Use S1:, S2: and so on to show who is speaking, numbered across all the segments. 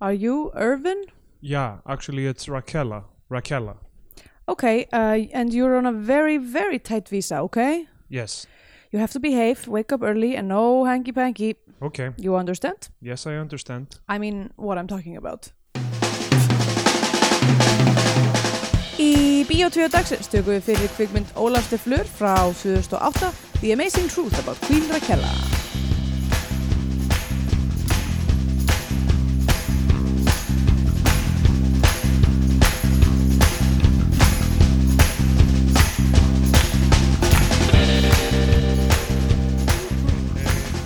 S1: Are you Irvin?
S2: Yeah, actually, it's Raquela. Raquela.
S1: Okay, uh, and you're on a very, very tight visa, okay?
S2: Yes.
S1: You have to behave, wake up early, and no hanky panky.
S2: Okay.
S1: You understand?
S2: Yes, I understand.
S1: I mean, what I'm talking about. Í Bíotvíu dagsins tökum við fyrir kvikmynd Ólaf Steflur frá 2008 The Amazing Truth About Queen Raquella.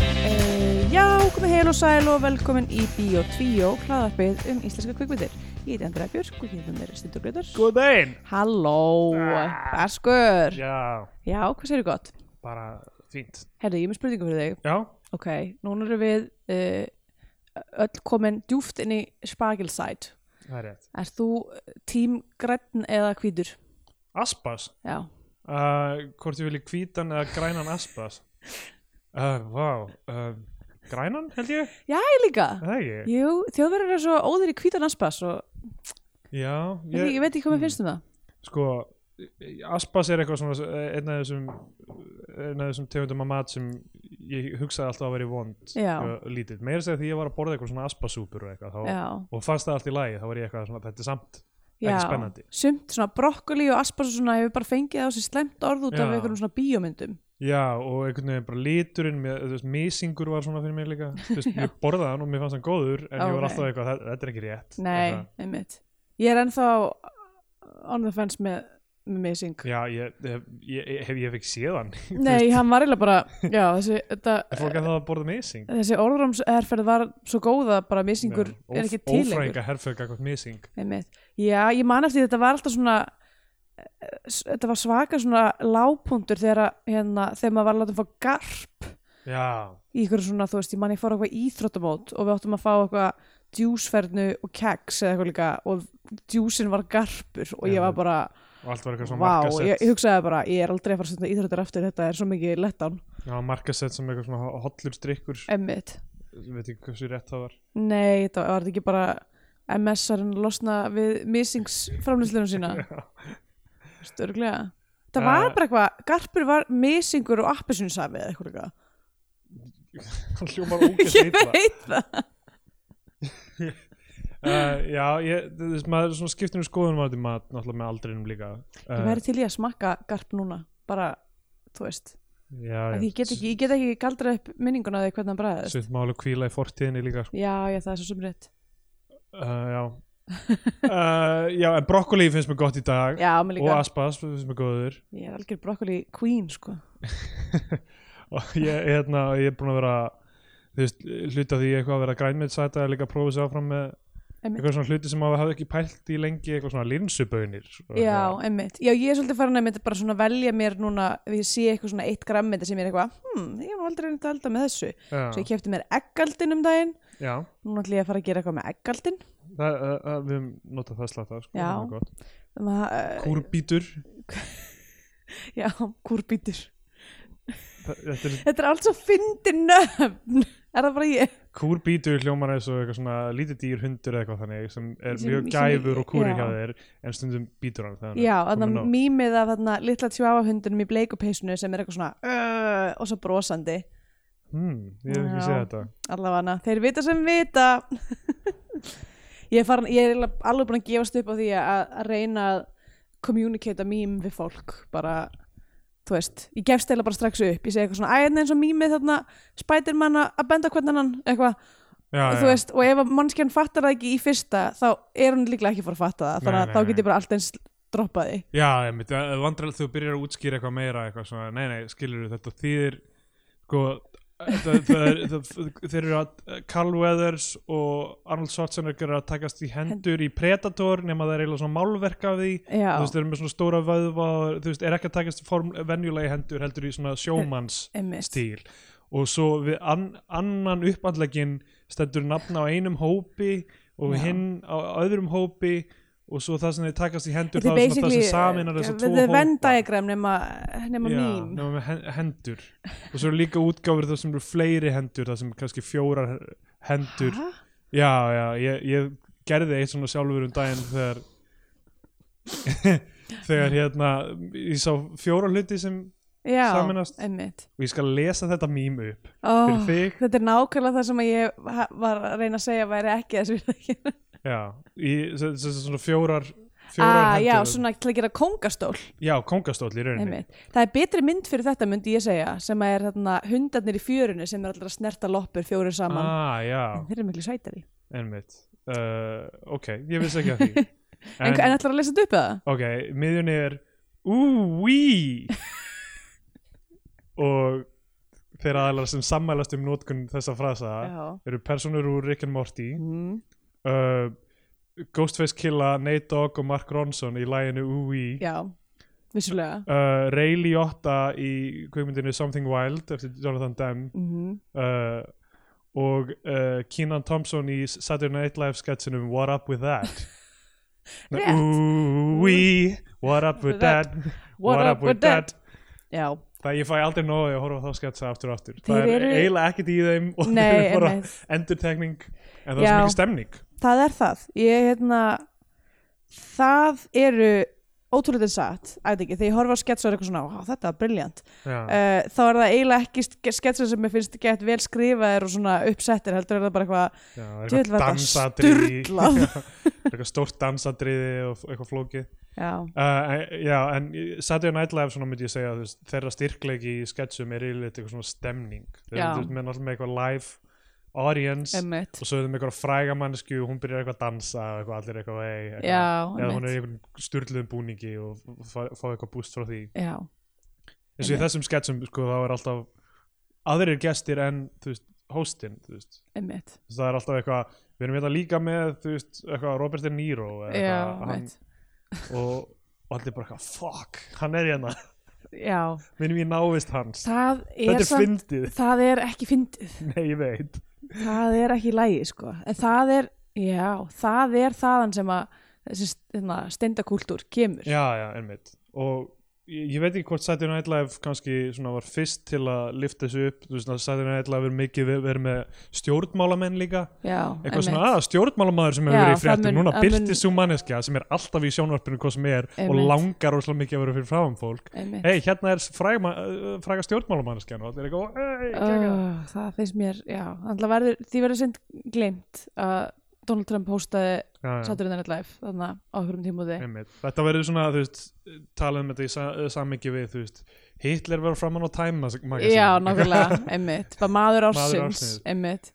S1: Eh, Já, komið heil og sæl og velkomin í Bíotvíu hlaðarpið um íslenska kvikmyndir. Ég heiti Andrea Björk og hérna með Stindur Gröður.
S2: Good day!
S1: Halló,
S2: Ah.
S1: Askur
S2: Já,
S1: Já, hvað segir gott?
S2: bara fínt.
S1: Herði, ég er með spurningu fyrir þig
S2: Já,
S1: Ok, núna erum við uh, öll komin djúft inn í spagilsæt
S2: það er rétt.
S1: Er þú tím grænn eða hvítur?
S2: Aspas.
S1: Já,
S2: Uh, hvort ég vilji hvítan eða grænan aspas? Uh, vá. Uh, grænan, held ég?
S1: Já ég líka
S2: Er Það ekki?
S1: Jú, þjóðverður er svo óður í hvítan aspas og
S2: Já.
S1: ég, ég veit ekki hvað mér finnst um það
S2: Sko, aspas er eitthvað svona, einn af þessum, einn af þessum tegundum af mat sem ég hugsaði alltaf að vera í vond.
S1: Já.
S2: þegar ég var Lítill. Meira segði því ég var að borða eitthvað svona aspasúpur og eitthvað. Þá,
S1: Já,
S2: Og fannst það allt í lagi, þá var ég eitthvað svona, þetta er samt.
S1: já
S2: spennandi.
S1: Sumt, svona brokkoli og aspas og svona hefur bara fengið á sér slæmt orð út af
S2: Já.
S1: einhverjum svona bíómyndum
S2: Já, og einhvern veginn bara liturinn, mér, þú veist, misingur var svona fyrir mér líka, þú veist, ég borðaði hann og mér fannst hann góður, en
S1: Ok.
S2: ég var alltaf eitthvað, "Þa- þetta er ekki rétt.
S1: Nei,
S2: Eitthvað.
S1: einmitt Ég er ennþá on the fence með, með missing
S2: Já, ég, hef, ég, ég- hef, ég hef ekki séð hann. Þú
S1: Nei,
S2: veist,
S1: hann var eiginlega bara já, þessi, þetta,
S2: Er fólk að það að borða mising?
S1: þessi orðramsherferð var svo góð að bara missingur er ekki til
S2: Ófrænga herfögg eitthvað mising.
S1: lengur. Já, ég man eftir því þetta var alltaf svona eh, s- þetta var svaka svona lágpuntur þegar, að, hérna, þegar maður var að láta að fá garp
S2: Já,
S1: í ykkur svona, þú veist, ég man ég fór á eitthvað íþróttamót og við áttum að fá eitthvað djúsfernu og keks eða eitthvað líka og djúsin var garpur og ég
S2: Já.
S1: var bara,
S2: og allt var eitthvað svona
S1: vá, ég, ég
S2: markasett.
S1: hugsaði bara ég er aldrei að fara að stunda íþróttir aftur, þetta er svo mikið lettan,
S2: Já, markasett sem eitthvað svona hollur strikkur,
S1: emmitt
S2: ég veit ekki hversu rétt það var.
S1: Nei, þetta var þetta ekki bara MS-arinn losna við misingsframlýslunum sína Störglega Það var
S2: Eh.
S1: bara eitthvað, garpur var misingur og appisunsafi eða eitthvað líka.
S2: Hann hljómar ógeðslega
S1: Ég
S2: illa.
S1: veit það
S2: Uh, já, ég, þú veist, maður svona skiptir um skoðunum á þetta mat, náttúrulega með aldrinum líka. Eh,
S1: Ég væri til í að smakka garp núna bara, þú veist
S2: já,
S1: Af
S2: já.
S1: því ég get ekki, ég get ekki galdra upp minninguna því hvernig hann bræðist
S2: Sumt málu kvíla í fortíðinni líka sko.
S1: Já, já, það er svo sem rétt
S2: uh, já. uh, já, en brokkoli finnst mér gott í dag
S1: Já, mér
S2: og
S1: líka,
S2: aspas finnst mér góður
S1: ég er algjör brokkoli queen, sko
S2: og ég, hérna, ég er búin að vera þú veist, hluta því eitthvað að vera grænmetsæta er líka að prófa sér áfram með
S1: Einmitt.
S2: eitthvað svona hluti sem maður hafði ekki pælt í lengi eitthvað svona linsubönir sko.
S1: Já, einmitt. Já, ég er svolítið farin að bara svona velja mér núna, ef ég sé eitthvað svona eitt grammið sem ég er eitthvað, hm, ég var aldrei reynd að elda með þessu.
S2: já,
S1: Svo ég kefti mér eggaldin um daginn,
S2: já.
S1: núna ætlum ég að fara að gera eitthvað með eggaldin.
S2: Það, uh, uh, við höfum notað það slata sko,
S1: Já.
S2: það er gott.
S1: Þannig að, eh,
S2: kúrbítur
S1: já, kúrbítur.
S2: það- þetta er,
S1: Þetta er allt svo fyndin nöfn, er það bara ég?
S2: kúrbítur hljómar eins og eitthvað svona lítið dýr hundur eða eitthvað þannig sem er
S1: Sem- sem-
S2: mjög gæfur og kúri
S1: já.
S2: hjá þér en stundum bítur hann þegar hann er
S1: Já,
S2: kominn
S1: þannig
S2: nóg.
S1: að mýmið af þarna litla tjóafahundunum í bleikupeysinu sem er eitthvað svona, uh, og svo brosandi.
S2: Hmm, ég hef ekki
S1: Já.
S2: séð þetta.
S1: allavega, þeir vita sem vita ég er, farin, ég er eiginlega alveg búin að gefast upp á því að, að reyna að communicata mím við fólk bara, þú veist ég gefst eða bara strax upp, ég segi eitthvað svona æðin eins og mýmið þarna, spætirmann að benda hvernig hann, eitthvað,
S2: Já,
S1: þú veist og ef mannskjarn fattar það ekki í fyrsta þá er hún líklega ekki fór að fatta það þannig
S2: Nei,
S1: að
S2: nei,
S1: þá
S2: nei.
S1: get ég bara allt eins droppað því
S2: Já, ég myndi, vandræðilega þú byrjar að útskýra eitthvað meira, eitthvað svona, nei, nei, skilur þetta þýðir, sko, þetta, það er, það, þeir eru að, Carl Weathers og Arnold Schwarzenegger eru að takast í hendur í Predator, nema það er eiginlega svona málverk af því,
S1: Já,
S2: þú veist, þeir eru með svona stóra vöðva, og, þú veist, er ekki að takast í form, venjulegi hendur, heldur í svona sjómanns
S1: einmitt
S2: stíl og svo við an, annan uppandlegin stendur nafna á einum hópi og
S1: Já.
S2: hinn á öðrum hópi og svo það sem þið takast í hendur
S1: Þetta
S2: þá
S1: er
S2: er svona það
S1: basically, uh,
S2: sem saminar þess að tvo
S1: the
S2: hópa
S1: Venn diagram nema, nema
S2: Já,
S1: mím
S2: nema með hen- hendur og svo eru líka útgáfur það sem eru fleiri hendur það sem eru kannski fjórar hendur
S1: Ha?
S2: já, já, ég, ég gerði eitt svona sjálfur um daginn þegar þegar hérna ég sá fjóra hluti sem
S1: já,
S2: Sameinast.
S1: einmitt
S2: og ég skal lesa þetta mím upp
S1: oh,
S2: fyrir þig
S1: Þetta er nákvæmlega það sem að ég ha- var að reyna að segja að væri ekki þessu virðingin.
S2: Já, í, sem, sem, sem svona fjórar fjórar
S1: ah, Já,
S2: hendur. Mhm.
S1: svona til að gera kóngastól
S2: já, kóngastóll í rauninni
S1: einmitt. Það er betri mynd fyrir þetta myndi ég segja sem að er þarna hundarnir í fjörunni sem er allra að snerta loppur fjórir saman
S2: ah, já,
S1: Þeir eru miklu sætari
S2: einmitt uh, ok, ég vissi ekki að því
S1: En, en ætlar að lesa þetta upp eða?
S2: ok, miðjunni er úí og þeir aðalar sem sammælast um nótkun þessa frasa eru personur úr Rick and Morty
S1: Mm.
S2: uh, Ghostface Killa, Nate Dogg og Mark Ronson í læginu úí
S1: Já, vissulega
S2: uh, Ray Liotta í kvikmyndinu Something Wild eftir Jonathan Demme
S1: mm.
S2: uh, og uh, Keenan Thompson í Saturday Night Live sketsinum What Up With That
S1: Rétt.
S2: Ooh-wee What Up With That What, Up With That
S1: Já,
S2: Það ég fæ aldrei nógu að horfa á þá sketsa aftur og aftur
S1: Þeir
S2: Það er
S1: eru-
S2: eiginlega ekkert í þeim og
S1: Nei,
S2: þeir eru bara
S1: einmitt.
S2: endurtekning en það er
S1: Já.
S2: svo mikið stemning
S1: það er það Ég, hérna Það eru ótrúlega satt, ætti ekki, þegar ég horfa á sketsar eitthvað svona, "Vá, þetta var briljant
S2: Já,
S1: uh, þá er það eiginlega ekki ske- sketsar sem mér finnst gett vel skrifaðir og svona uppsettir heldur er það bara eitthvað
S2: já, það er
S1: djöfull
S2: eitthvað
S1: var þetta
S2: dansadriði
S1: sturlað.
S2: eitthvað stórt dansadriði og eitthvað flókið
S1: Já,
S2: Uh, já, en Saturday Night Live svona myndi ég segja þess, þeirra styrkleiki í sketsum er yfirleitt eitthvað svona stemning þeir
S1: Já.
S2: eru með náttúrulega með eitthvað live audience
S1: emmitt
S2: og svo er þeim eitthvað fræga mannsku og hún byrjar eitthvað að dansa og eitthvað allir eitthvað vei eitthvað.
S1: Já,
S2: eða hún er
S1: emmitt
S2: í einhvern styrluðum búningi og f- fá, fá eitthvað búst frá því
S1: Já,
S2: eins og í
S1: Einmitt.
S2: þessum sketsum sko þá er alltaf aðrir gestir en þú veist, hostin þú veist.
S1: emmitt
S2: Þú veist, það er alltaf eitthvað við erum hérna líka með þú veist, eitthvað Robert De Niro eða
S1: Já,
S2: eitthvað, hann,
S1: emmitt
S2: og, og allir bara eitthvað fuck, hann er hérna
S1: Já,
S2: minnum ég návist hans
S1: það er
S2: þetta er
S1: samt
S2: fyndið,
S1: Það er ekki fyndið,
S2: nei ég veit
S1: það er ekki lægi sko, en það er, já, það er þaðan sem að þessi stendakúltúr kemur.
S2: já já, einmitt og ég, ég veit ekki hvort Saturday Night Live kannski svona var fyrst til að lifta þessu upp þú veist að Saturday Night Live er mikið ver- verið með stjórnmálamenn líka
S1: já
S2: eitthvað svona
S1: einmitt.
S2: aða stjórnmálamaður sem hefur
S1: Já,
S2: verið í
S1: það
S2: fréttum
S1: mun-
S2: núna
S1: það mun-
S2: byrti svo manneskja sem er alltaf í sjónvarpinu hvað sem er og
S1: Einmitt.
S2: langar rosalega mikið að vera fyrir fráum fólk
S1: Einmitt.
S2: hei hérna er fræga, uh, fræga stjórnmálamanneskjan og allir eitthvað hey, uh,
S1: Ó, það finnst mér, já, alltaf verður, því verður sind glemt að Donald Trump hóstaði
S2: já, já,
S1: Saturday Night Live, þannig á hverjum tímúði.
S2: einmitt. þetta verður svona þú veist talað um þetta í sa sammingi við þú veist Hitler var framann á Time magazine.
S1: Já, nákvæmlega, einmitt, bara maður
S2: Maður
S1: ársins,
S2: ársins.
S1: einmitt.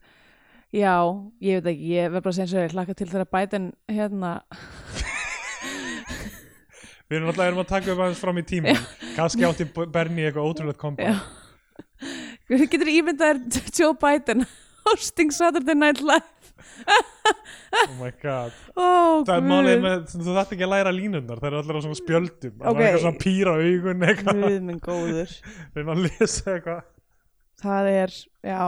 S1: Já, ég veit ekki, ég verð bara að segja eins og ég hlakka til þegar Biden, hérna,
S2: Við erum alltaf erum að taka upp aðeins fram í tíma Kannski átti B- Bernie eitthvað ótrúlegt kompa
S1: Já. Getur ímyndað þér Joe Biden hosting Saturday Night Live
S2: Oh my god
S1: Ó,
S2: Það er
S1: guð.
S2: málið með, þú þarft ekki að læra línunar Það eru allir á svona spjöldum Það
S1: Ok.
S2: er eitthvað svona pýra augun eitthvað
S1: Guð minn góður
S2: Reyna að lesa eitthvað
S1: Það er, já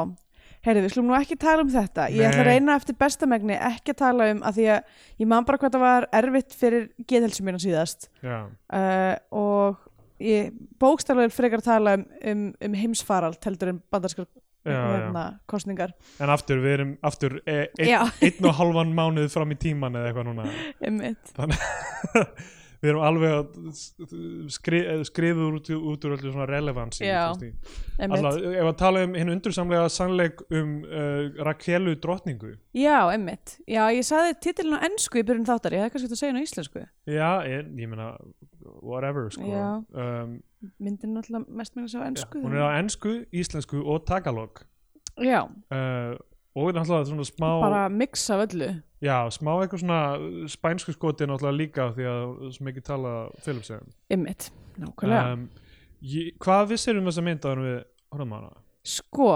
S1: Herri, við slum nú ekki tala um þetta Ég
S2: Nei.
S1: ætla að reyna eftir bestamegni ekki að tala um að því að ég man bara hvað það var erfitt fyrir geðhelsum mínu síðast
S2: Já,
S1: uh, og ég bókstæluður frekar að tala um, um, um heimsfarald heldur en bandarskar
S2: já, já
S1: hérna, kostningar
S2: En aftur, við erum aftur e, ein,
S1: Já,
S2: Einn og halvan mánuð fram í tíman eða eitthvað núna
S1: einmitt
S2: Við erum alveg að skri, skrifa út, út úr öllu svona relevansi
S1: Já.
S2: þú veist, í-
S1: einmitt.
S2: Alltaf, ef að tala um hinn undursamlega sannleik um uh, Rakelu drottningu
S1: Já, einmitt Já, ég saði titilin á ennsku í byrjun þáttar Ég hefði kannski þetta að segja hann á íslensku
S2: Já, ég, ég meina whatever sko
S1: Já.
S2: um,
S1: myndin náttúrulega mest mér að segja á ennsku
S2: hún er á ensku, íslensku og tagalog
S1: já,
S2: uh, og náttúrulega svona smá
S1: bara mix af öllu
S2: já, smá eitthvað svona uh, spænsku skoti náttúrulega líka því að sem ekki tala Filipsen
S1: ymmit, nákvæmlega
S2: ég, hvað vissir um þessa mynd áður en við horfum á hana?
S1: sko,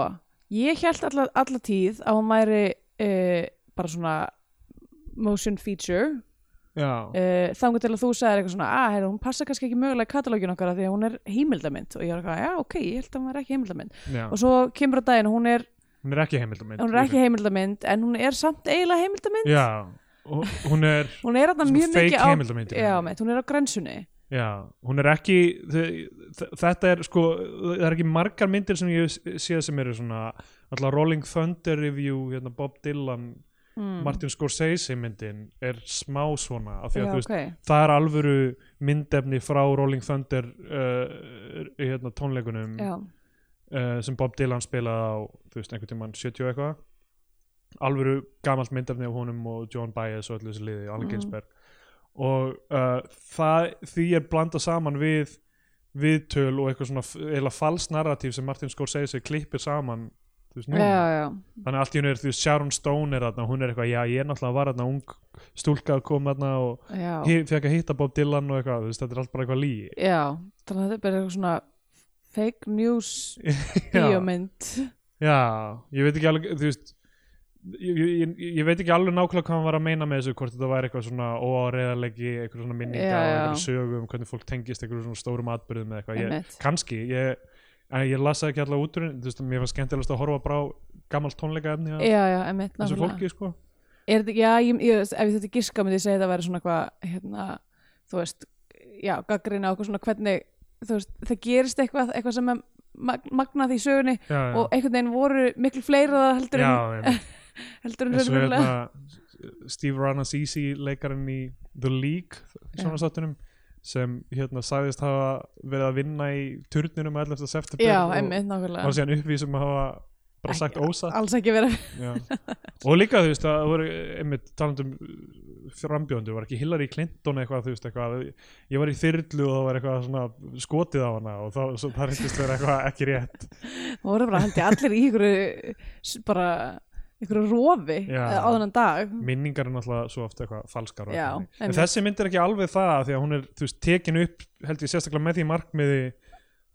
S1: ég held alla, alla tíð að hún væri uh, bara svona motion feature
S2: Já,
S1: uh, þangar til að þú sagðir eitthvað svona að hérna, hún passa kannski ekki mögulega í katalógin okkar af því að hún er heimildamind og ég var eitthvað, já ok, ég held að hún væri ekki heimildamind
S2: já,
S1: og svo kemur á daginn, að hún er,
S2: hún er ekki heimildamind
S1: hún er ekki heimildamind en hún er samt eiginlega heimildamind
S2: Já, og hún er
S1: hún er þarna
S2: Svona
S1: mjög
S2: fake
S1: mikið á
S2: heimildarmyndir.
S1: já, meitt, hún er á grensunni
S2: Já, hún er ekki þe- þe- þetta er sko það er ekki margar myndir sem ég sé sem eru svona alltaf Rolling Thunder review hérna Bob Dylan
S1: mm.
S2: Martin Scorsese myndin er smá svona af því að
S1: já,
S2: þú veist,
S1: okay.
S2: það er alvöru myndefni frá Rolling Thunder uh, hérna, tónleikunum
S1: já,
S2: uh, sem Bob Dylan spilaði á þú veist, einhvern tímann 70 og eitthvað alvöru gamalt myndafni af honum og John Baez og öllu þessu liði og Allen
S1: Mhm.
S2: Ginsberg og uh, það, því er blanda saman við viðtöl og eitthvað svona f- eiginlega fals narratív sem Martin Scorsese klippir saman þú veist, núna
S1: já, já,
S2: þannig að allt í hennu er því Sharon Stone er þarna hún er eitthvað, já ég er náttúrulega var þarna ung stúlka að koma þarna og
S1: já,
S2: hi- fekk að hitta Bob Dylan og eitthvað, þú veist, þetta er allt bara eitthvað líi
S1: já. þannig að þetta er bara eitthvað svona fake news bíómynd
S2: Já, ég veit ekki alveg, þú veist ég, ég, ég- ég veit ekki alveg nákvæmlega hvað hann var að meina með þessu, hvort þetta var eitthvað svona óáreðalegi, eitthvað svona minninga
S1: Já,
S2: og
S1: já.
S2: eitthvað sögum, hvernig fólk tengist eitthvað svona stórum atbyrðum eða eitthvað, ég,
S1: Einmitt.
S2: kannski ég, en ég lasa ekki allavega útrun þú veist, mér var skemmtilegast að horfa bara á gamalt tónleika efni að
S1: já, já, emitt
S2: þessu fólki, sko
S1: er þetta, já, ég, ég, ef ég þetta giska myndi ég segja þetta að vera svona eitthvað hérna, þú veist, já, gaggrina og eitthvað svona hvernig, þú veist, það gerist eitthvað, eitthvað sem er mag- magnað í sögunni
S2: Já, já,
S1: og einhvern veginn voru miklu fleira það heldur
S2: já,
S1: en,
S2: já
S1: heldur en
S2: eins og
S1: raunverulega
S2: hérna Steve Ranasisi leikarinn í The League svona sattunum sem hérna sagðist hafa verið að vinna í turninum 11. september
S1: já,
S2: hérna, og
S1: emitt,
S2: var
S1: nákvæmlega
S2: síðan uppvísum að hafa bara sagt ósatt
S1: alls ekki vera,
S2: Já. og líka þú veist að það voru einmitt talandum frambjóðundu var ekki Hillary Clinton eitthvað þú veist eitthvað ég var í þyrlu og það var eitthvað svona skotið á hana og það, svo, það reyndist vera eitthvað ekki rétt
S1: voru bara held ég allir í ykkur bara, ykkur rofi
S2: Já.
S1: eða á þennan dag
S2: minningar er náttúrulega svo ofta eitthvað falskar og
S1: Já,
S2: eitthvað þannig. en
S1: einmitt.
S2: þessi mynd er ekki alveg það af því að hún er þú veist tekin upp held ég sérstaklega með því markmiði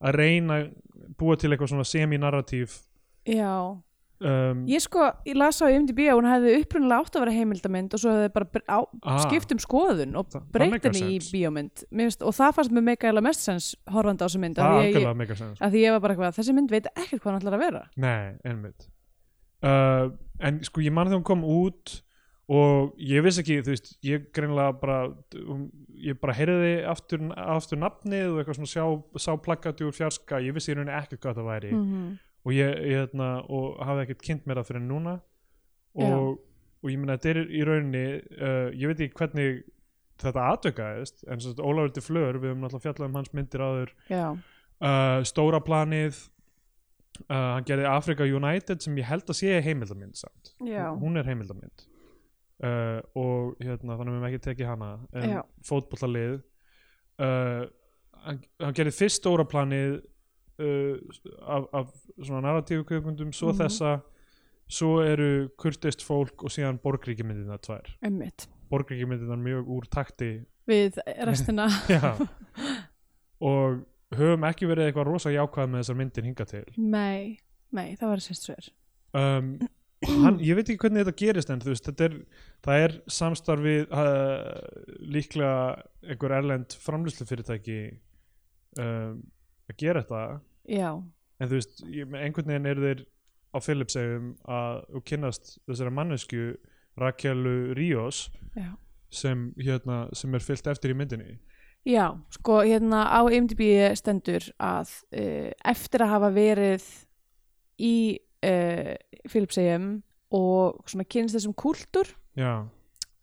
S2: að reyna að búa til eitthvað svona semi-narratív
S1: já,
S2: um,
S1: Ég sko, ég las á IMDb að hún hefði upprunnilega átt að vera heimildamynd og svo hefði bara bre- á,
S2: Ah.
S1: skipt um skoðun og
S2: Það- það
S1: breytt
S2: make a
S1: henni í
S2: sense.
S1: bíómynd Mér finnst, og það fannst mér mega eða mest sens horfandi á þessa mynd
S2: það
S1: af því
S2: er
S1: að
S2: algjörlega
S1: ég,
S2: mega sens
S1: að því ég var bara eitthvað, þessi mynd veit ekkert hvað hann ætlar að vera
S2: Nei, einmitt uh, En sko ég man þegar hún kom út og ég vissi ekki, þú veist ég greinlega bara um, ég bara heyrði aftur, aftur nafnið og eitthvað svona sjá, sá plakkati úr fjarska ég vissi í rauninni ekkert hvað það
S1: Mm.
S2: væri
S1: Mhm.
S2: og ég, ég hérna, og hafði ekkert kynnt mér það fyrir en núna
S1: Já.
S2: og, og ég meina þetta er í rauninni uh, ég veit ekki hvernig þetta atvikaðist, en svo þetta Ólafur til Flör við höfum náttúrulega fjallað um hans myndir áður
S1: Já,
S2: uh, stóra planið uh, hann gerði Africa United sem ég held að sé heimildamind samt
S1: já,
S2: hún hún er heimildamind uh, og hérna þannig að við hefum ekki tekið hana en
S1: Já.
S2: fótbollalið uh, hann, hann gerði fyrst stóra planið uh, af, af svona narratífu kveikmyndum svo
S1: Mhm.
S2: þessa svo eru kurtist fólk og síðan borgríkimyndirna tvær
S1: emmitt
S2: borgríkimyndirna mjög úr takti
S1: Við restina
S2: Já og höfum ekki verið eitthvað rosa jákvæð með þessar myndir hinga til
S1: Nei, nei, það var sérst sver
S2: um, hann, ég veit ekki hvernig þetta gerist en þú veist, þetta er, það er samstarfið uh, líklega einhver erlend framlýslufyrirtæki um, að gera þetta
S1: Já,
S2: en þú veist, ég, með einhvern veginn eru þeir á Philipsegum að og kynnast þessari mannesku Rakelu Ríos
S1: já
S2: sem, hérna, sem er fyllt eftir í myndinni
S1: Já, sko hérna á IMDb stendur að uh, eftir að hafa verið í uh, Filipsegjum og svona kynst þessum kúltúr
S2: Já,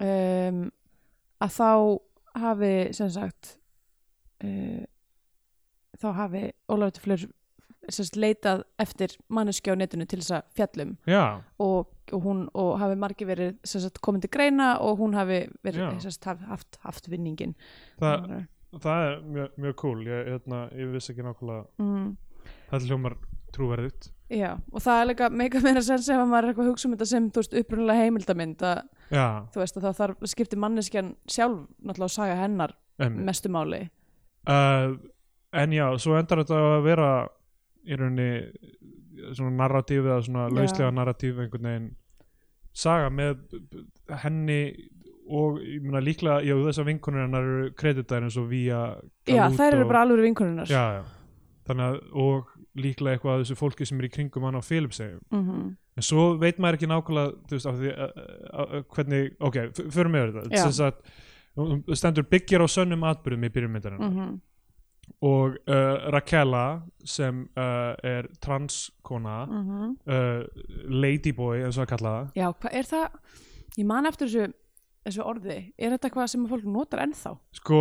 S1: um, að þá hafi sem sagt uh, þá hafi Ólafur Tuflur sem sagt leitað eftir manneskja á netinu til þess að fjallum
S2: já,
S1: og, og hún og hafi margi verið sem sagt komin til greina og hún hafi
S2: Já.
S1: verið sem sagt haf- haft, haft vinningin
S2: það, það er mjög, mjög cool ég, hérna, ég vissi ekki nákvæmlega
S1: mm.
S2: það hljómar trúverðut
S1: Já, og það er líka meika meira sens ef að maður er eitthvað að hugsa um þetta sem, þú veist, upprunalega heimildamynd að,
S2: já,
S1: þú veist, að það þarf, skiptir manneskjan sjálf náttúrulega að saga hennar
S2: emmi
S1: mestu máli.
S2: uh, en já, svo endar þetta á að vera í rauninni eh, svona narratíf eða svona
S1: Já.
S2: lauslega narratíf einhvern veginn saga með b- b- henni og ég meina líklega, já þessar vinkonur hennar eru kreditaðir eins og vía
S1: Já,
S2: Galuto.
S1: þær eru bara alveg vinkonunar.
S2: já, já. þannig að og líklega eitthvað af þessu fólki sem er í kringum hann á Filipsegum
S1: Mm
S2: en svo veit maður ekki nákvæmlega þú veist, af því, uh, uh, hvernig, ok, f- förum við yfir
S1: Já.
S2: þetta þess að hún- hún stendur byggir á sönnum atbyrðum í byrjumyndarinn mm.
S1: Mhm,
S2: og uh, Rakela sem uh, er transkona uh, ladyboy eins og að kalla það
S1: Já, mhm. hvað er það? Ég man eftir þessu, þessu orði Er þetta eitthvað sem að fólk notar ennþá?
S2: sko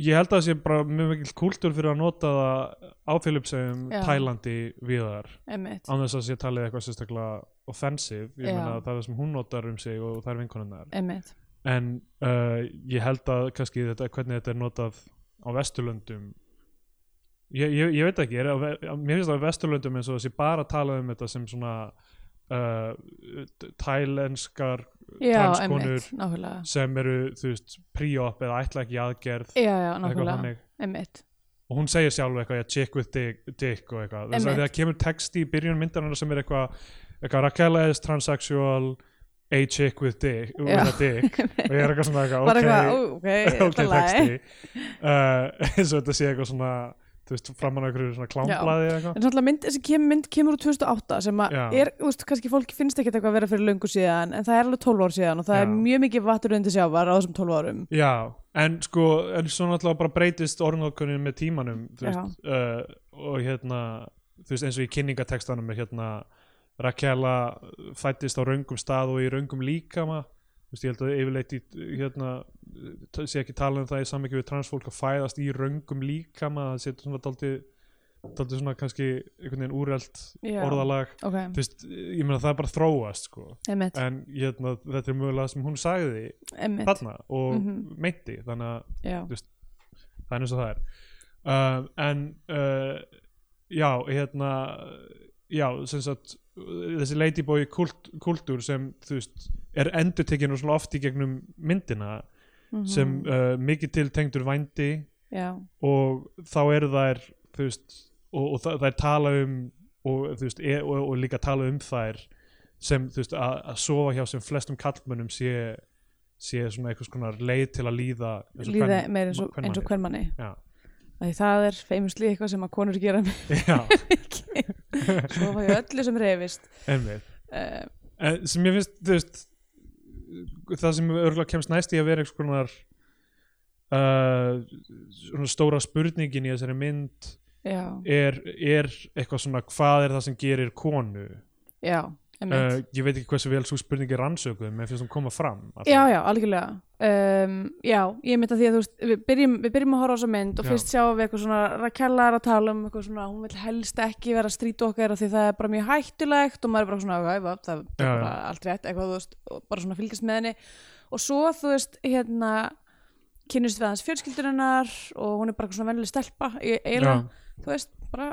S2: ég held að það sé bara mjög mikill kúltúr fyrir að nota það á Filipsegum
S1: Já.
S2: Tælandi viðar
S1: Einmitt.
S2: án þess að sé talið eitthvað sérstaklega offensive, ég
S1: Já.
S2: meina það er það sem hún notar um sig og það er vinkonunnar
S1: Einmitt.
S2: en uh, ég held að kannski þetta, hvernig þetta er notað á Vesturlöndum ég, ég, ég veit ekki, ég er á, ve- á- mér finnst það á Vesturlöndum eins og þessi bara talað um þetta sem svona uh, tælenskar
S1: Já,
S2: Transkonur.
S1: einmitt, nákvæmlega
S2: sem eru, þú veist, pre-op eða ætla ekki í aðgerð
S1: Já, já,
S2: eitthvað
S1: nákvæmlega,
S2: þannig
S1: einmitt
S2: og hún segir sjálf eitthvað, ég check with dick, dick og eitthvað, þess að
S1: Einmitt.
S2: það kemur texti í byrjun myndarinnar sem er eitthvað, eitthvað Raquel is transsexual a chick with dick, with
S1: Já.
S2: a dick og ég er eitthvað svona eitthvað,
S1: Bara
S2: ok,
S1: eitthvað, ó, ok,
S2: ok
S1: þetta lagi.
S2: texti uh, eins og þetta sé eitthvað svona þú veist, framan á einhverju svona klámblaði eða eitthvað
S1: En náttúrulega mynd, þessi kem, mynd kemur úr 2008 sem að
S2: Já.
S1: er, þú veist, kannski fólk finnst ekkert eitthvað að vera fyrir löngu síðan en það er alveg 12 ár síðan og það
S2: Já.
S1: er mjög mikið vattur undir sjávar á þessum 12 árum
S2: já, en sko, en svo náttúrulega bara breytist orðinókunin með tímanum þú veist, uh, og hérna þú veist, eins og í kynningatextanum er hérna Rakela fættist á raungum stað og í raungum líkama þú veist, ég held að yfirleitt í, hérna, t- sé ekki tala um það í samvikið við transfólk að fæðast í raungum líkama það setur svona daldið daldið svona kannski einhvern veginn úrelt
S1: Já.
S2: orðalag
S1: Ok,
S2: þú veist, ég meina það er bara að þróast sko.
S1: einmitt,
S2: en hérna, þetta er mögulega sem hún sagði
S1: einmitt
S2: þarna og
S1: Mhm.
S2: meinti þannig að
S1: Já,
S2: það er eins og það er uh, en uh, já, hérna já, sem sagt þessi ladyboy kult, kultúr sem þú veist, er endurtekinn og svona oft í gegnum myndina
S1: mhm,
S2: sem uh, mikið til tengdur vændi
S1: Já,
S2: og þá eru þær þú veist, og, og það, þær tala um og, þú veist, e, og, og líka tala um þær sem þú veist, að, að sofa hjá sem flestum kallmönnum sé, sé svona einhvers konar leið til að líða eins og
S1: líða
S2: kvenm-
S1: meir eins og, eins og
S2: kvenmanni.
S1: hvern manni
S2: Já.
S1: Því það er feimsli eitthvað sem að konur gera
S2: Já,
S1: mikið Svo var ég öllu sem reyfist
S2: einmitt
S1: uh,
S2: en sem ég finnst þú veist, það sem örgulega kemst næst í að vera einhvers konar uh, svona stóra spurningin í þessari mynd
S1: Já,
S2: er, er eitthvað svona hvað er það sem gerir konu
S1: já, einmitt
S2: Uh, ég veit ekki hversu vel svo spurningi rannsökuð menn finnst hún koma fram alltaf.
S1: Já, já, algjörlega um, Já, ég myndi að því að þú veist við byrjum, við byrjum að horfa á þessa mynd og
S2: Já.
S1: fyrst sjáum við eitthvað svona Rakella er að tala um eitthvað svona hún vil helst ekki vera strýt okkar því það er bara mjög hættulegt og maður er bara svona okay, va, það
S2: Já,
S1: er
S2: já.
S1: bara allt rétt eitthvað þú veist og bara svona fylgjast með henni og svo þú veist hérna kynnist við hans fjölskyldurinnar og hún er bara eitthvað svona vennileg stelpa í eiginlega, þú veist, bara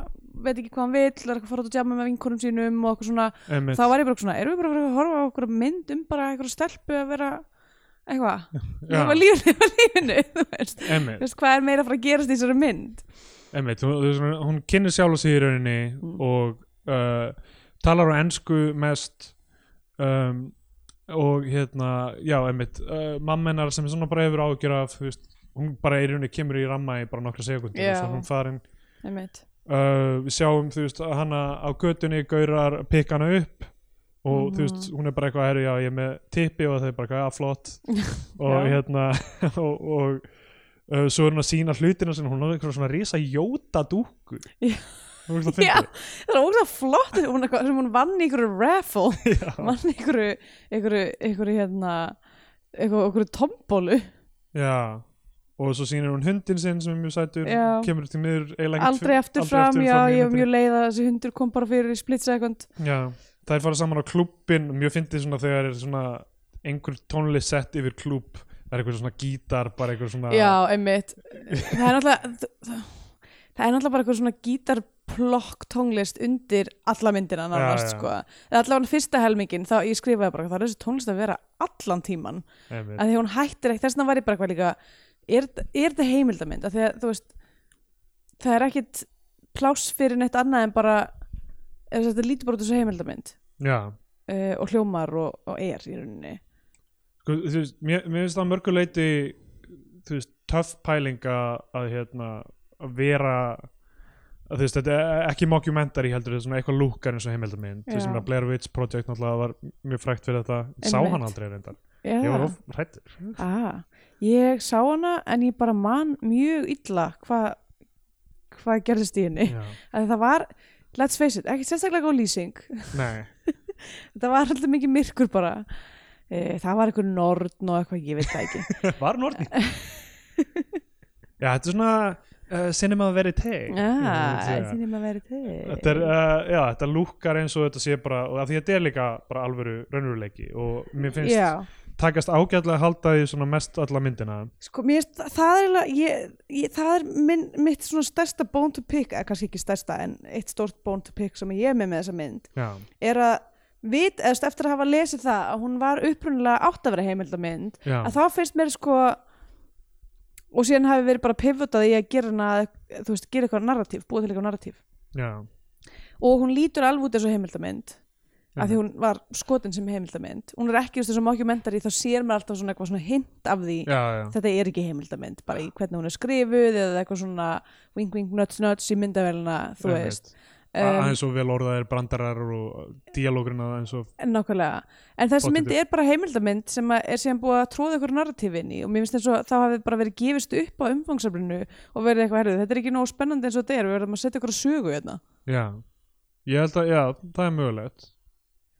S1: veit ekki hvað hann vill, er eitthvað að fara út að djama með vinkonum sínum og eitthvað svona
S2: einmitt,
S1: þá var ég bara svona, erum við bara að fara að horfa á okkur mynd um bara eitthvað stelpu að vera eitthvað, lifa
S2: já,
S1: lífinu lifa lífinu, þú veist Þú
S2: einmitt,
S1: veist, hvað er meira að fara að gerast í þessari mynd
S2: einmitt. Hún, hún, hún kynir sjálf sig í rauninni
S1: Mm.
S2: og uh, talar á ensku mest um, og hérna já, einmitt, uh, mamma hennar sem svona bara hefur ágjör af þú veist, hún bara í rauninni kemur í ramma í bara nokkra sekundir
S1: Já.
S2: og svo er hún farin
S1: einmitt,
S2: uh, við sjáum þú veist að hana á götunni gaurar pikka hana upp og þú veist
S1: Mm.
S2: hún er bara eitthvað herri já ég er með tippi og þau er bara eitthvað að flott og
S1: Já.
S2: hérna og, og uh, svo er hún að sína hlutina sem hún er eitthvað svona risa jóta dúku
S1: Já. Já,
S2: já,
S1: það er ógst að flott hún, eitthvað- sem hún vann í einhverju raffle
S2: já,
S1: vann í einhverju, einhverju, einhverju hérna, einhverju, einhverju tombólu
S2: já og svo sýnir hún hundin sinn sem er mjög sætur
S1: Já.
S2: kemur til miður eiginlega ekkert
S1: aldrei
S2: fyr-
S1: aftur fram, já,
S2: í
S1: ég var
S2: myndinni.
S1: mjög leið að þessi hundur kom bara fyrir í split second
S2: Já, það er farað saman á klúbbin mjög fyndið svona þegar er svona einhver tónlist sett yfir klúbb það er eitthvað svona gítar, bara eitthvað svona
S1: Já, einmitt Það er náttúrulega Það er náttúrulega bara eitthvað svona gítarplokk tónlist undir alla myndina nánast,
S2: já.
S1: sko. Eða allavega fyrsta helmingin, þá ég skrifaði bara það er þessi tónlist að vera allan tíman
S2: einmitt,
S1: að því að hún hættir ekki, þess vegna var ég bara eitthvað líka er, er þetta heimildamynd? Að því að þú veist það er ekkit pláss fyrir neitt annað en bara ef þetta lítur bara út þessu heimildamynd
S2: já
S1: uh, og hljómar og, og er í rauninni
S2: sko, þú veist, mér, mér finnst það að mörgu leiti þú veist, töff pæling að, að hérna, að vera að þú veist, þetta er ekki mockumentary heldur, þetta er svona eitthvað lúkar eins og heimildamind þú
S1: Já.
S2: veist, mér að Blair Witch Project náttúrulega var mjög frækt fyrir þetta, sá
S1: Einmitt.
S2: hann aldrei reyndar,
S1: Já.
S2: ég var of hrættur
S1: Ah, ég sá hana en ég bara man mjög illa hvað hva gerðist í henni.
S2: já,
S1: Yeah. Það var, let's face it, ekki sérstaklega góð lýsing.
S2: nei
S1: Þetta var alltaf mikið myrkur bara. Eh, það var einhver norn og eitthvað, ég veit það ekki
S2: Var norni Já, þetta er svona uh, Cinema Verite
S1: ah,
S2: Þetta
S1: Þínum að vera til
S2: er,
S1: Eh,
S2: uh, já, þetta lúkkar eins og þetta sé bara og af því þetta er líka bara alvöru raunveruleiki og mér finnst
S1: Já,
S2: takast ágætlega að halda því svona mest alla myndina
S1: sko, mér finnst það- það er eiginlega- ég, ég, það er minn, mitt svona stærsta bone to pick, eða kannski ekki stærsta en eitt stórt bone to pick sem ég er með með þessa mynd
S2: Já,
S1: er að vit, eða þú veist, eftir að hafa lesið það að hún var upprunalega átt að vera heimildamynd
S2: já,
S1: að þá finnst mér sko og síðan hafi verið bara pivotað í að gera hana, þú veist, gera eitthvað narratíf búið til eitthvað narratíf
S2: já
S1: og hún lítur alveg út eins og heimildamynd af því
S2: Mhm.
S1: hún var skotin sem heimildamynd hún er ekki, þú veist, þessum mockumentari þá sér maður alltaf svona eitthvað svona hint af því
S2: Já, já,
S1: þetta er ekki heimildamynd, bara í hvernig hún er skrifuð eða eitthvað svona wink wink nuts nuts í myndavelina, þú
S2: Einmitt.
S1: veist
S2: um,
S1: um,
S2: aðeins og vel orðaðir brandarar og dialógrina aðeins og
S1: Nákvæmlega, en þessi
S2: Pottitur.
S1: myndi er bara heimildamynd sem að- er síðan búið að tróða ykkur narratífin í og mér finnst eins og þá hafi bara verið gefist upp á umfangsaflinu og verið eitthvað herrið, þetta er ekki nóg spennandi eins og þetta er, við verðum að setja ykkur að sögu hérna.
S2: já, ég held að, já, það er mögulegt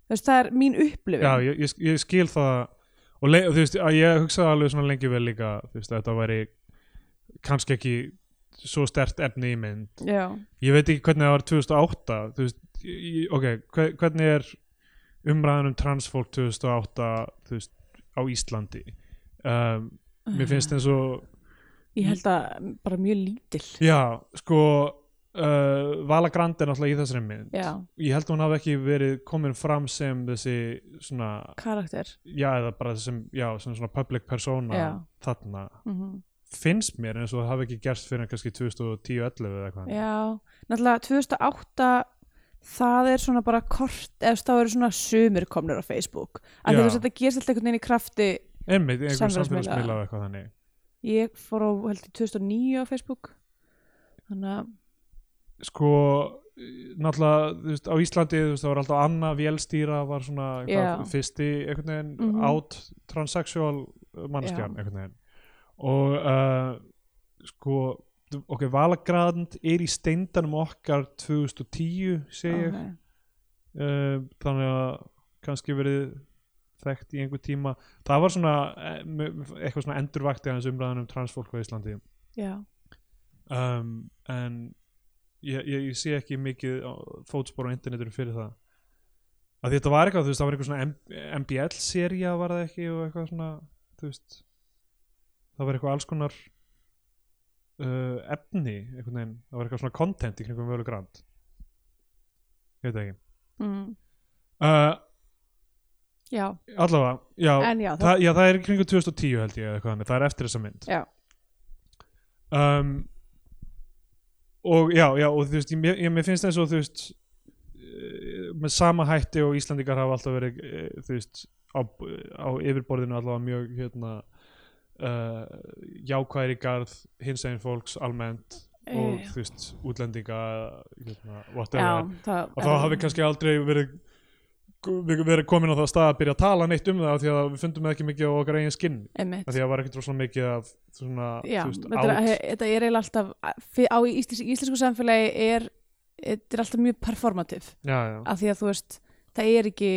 S1: Þess, það er mín upplifin.
S2: já, ég, ég, ég skil það og le, þú veist, að ég hugsaði alveg svona lengi vel líka, þú veist, að þetta væri kannski ekki svo stert efni í mynd,
S1: Já.
S2: ég veit ekki hvernig það var 2008, þú veist, ég, ok hve- hvernig er umræðan um transfólk 2008 þú veist, á Íslandi um, mér finnst eins og
S1: Ég held að bara mjög lítil.
S2: já, sko uh, Vala Grand er náttúrulega í þessari mynd
S1: Já,
S2: ég held að hún hafi ekki verið komin fram sem þessi svona
S1: karakter.
S2: já, eða bara sem, já, sem svona public persona
S1: Já.
S2: þarna
S1: Mm
S2: finnst mér eins og það hafi ekki gerst fyrir kannski 2010-11 eða eitthvað
S1: Já, náttúrulega 2008 það er svona bara kort, eða þú veist, þá eru svona sumir komnir á Facebook. Af því
S2: Já.
S1: þú veist, Þetta gerst alltaf einhvern veginn í krafti
S2: einmitt, einhver
S1: Samfélagsmiðla.
S2: samfélagsmiðla eða eitthvað þannig
S1: Ég fór á, held ég, 2009 á Facebook Þannig að,
S2: sko, náttúrulega þú veist, á Íslandi, þú veist, það var alltaf Anna Vélstýra var svona
S1: Já.
S2: eitthvað, fyrsti einhvern veginn mm
S1: Mhm.
S2: out transsexual mannskjan einhvern veginn og uh, sko ok, Valagrand er í steindanum okkar 2010 segi ég,
S1: ok.
S2: uh, þannig að kannski verið þekkt í einhver tíma það var svona eh, m- eitthvað svona endurvakti aðeins umræðan um transfólk á Íslandi
S1: já
S2: um, en ég, ég, ég sé ekki mikið á- fótspor á internetinu fyrir það að þetta var eitthvað, þú veist, það var eitthvað svona M- MBL-sería var það ekki og eitthvað svona, þú veist það var eitthvað alls konar uh, efni einhvern veginn, það var eitthvað svona content í kringum völu grand ég veit það ekki
S1: mm.
S2: uh,
S1: Já,
S2: allavega, já,
S1: en já, það,
S2: það, já, það er í kringu 2010 held ég eða eitthvað þannig, það er eftir þessa mynd
S1: Já.
S2: um, og já, já og þú veist, ég, mér- ég, mér finnst eins og þú veist eh, með sama hætti og Íslandingar hafa alltaf verið eh, þú veist, á, á yfirborðinu allavega mjög hérna Uh, jákværi garð hins einn fólks almennt og
S1: Eh,
S2: þú veist útlendinga hérna,
S1: já
S2: whatever
S1: það,
S2: og þá hafi kannski aldrei verið við verið komin á það stað að byrja að tala neitt um það af því að við fundum það ekki mikið á okkar eigin skinn
S1: einmitt.
S2: af því að það var ekkert rosalega mikið af svona,
S1: Já,
S2: þú veist,
S1: þetta, er,
S2: átt
S1: he- þetta er eiginlega alltaf fi- á í íslis, íslensku samfélagi er þetta er alltaf mjög performativ
S2: já, já.
S1: af því að þú veist, það er ekki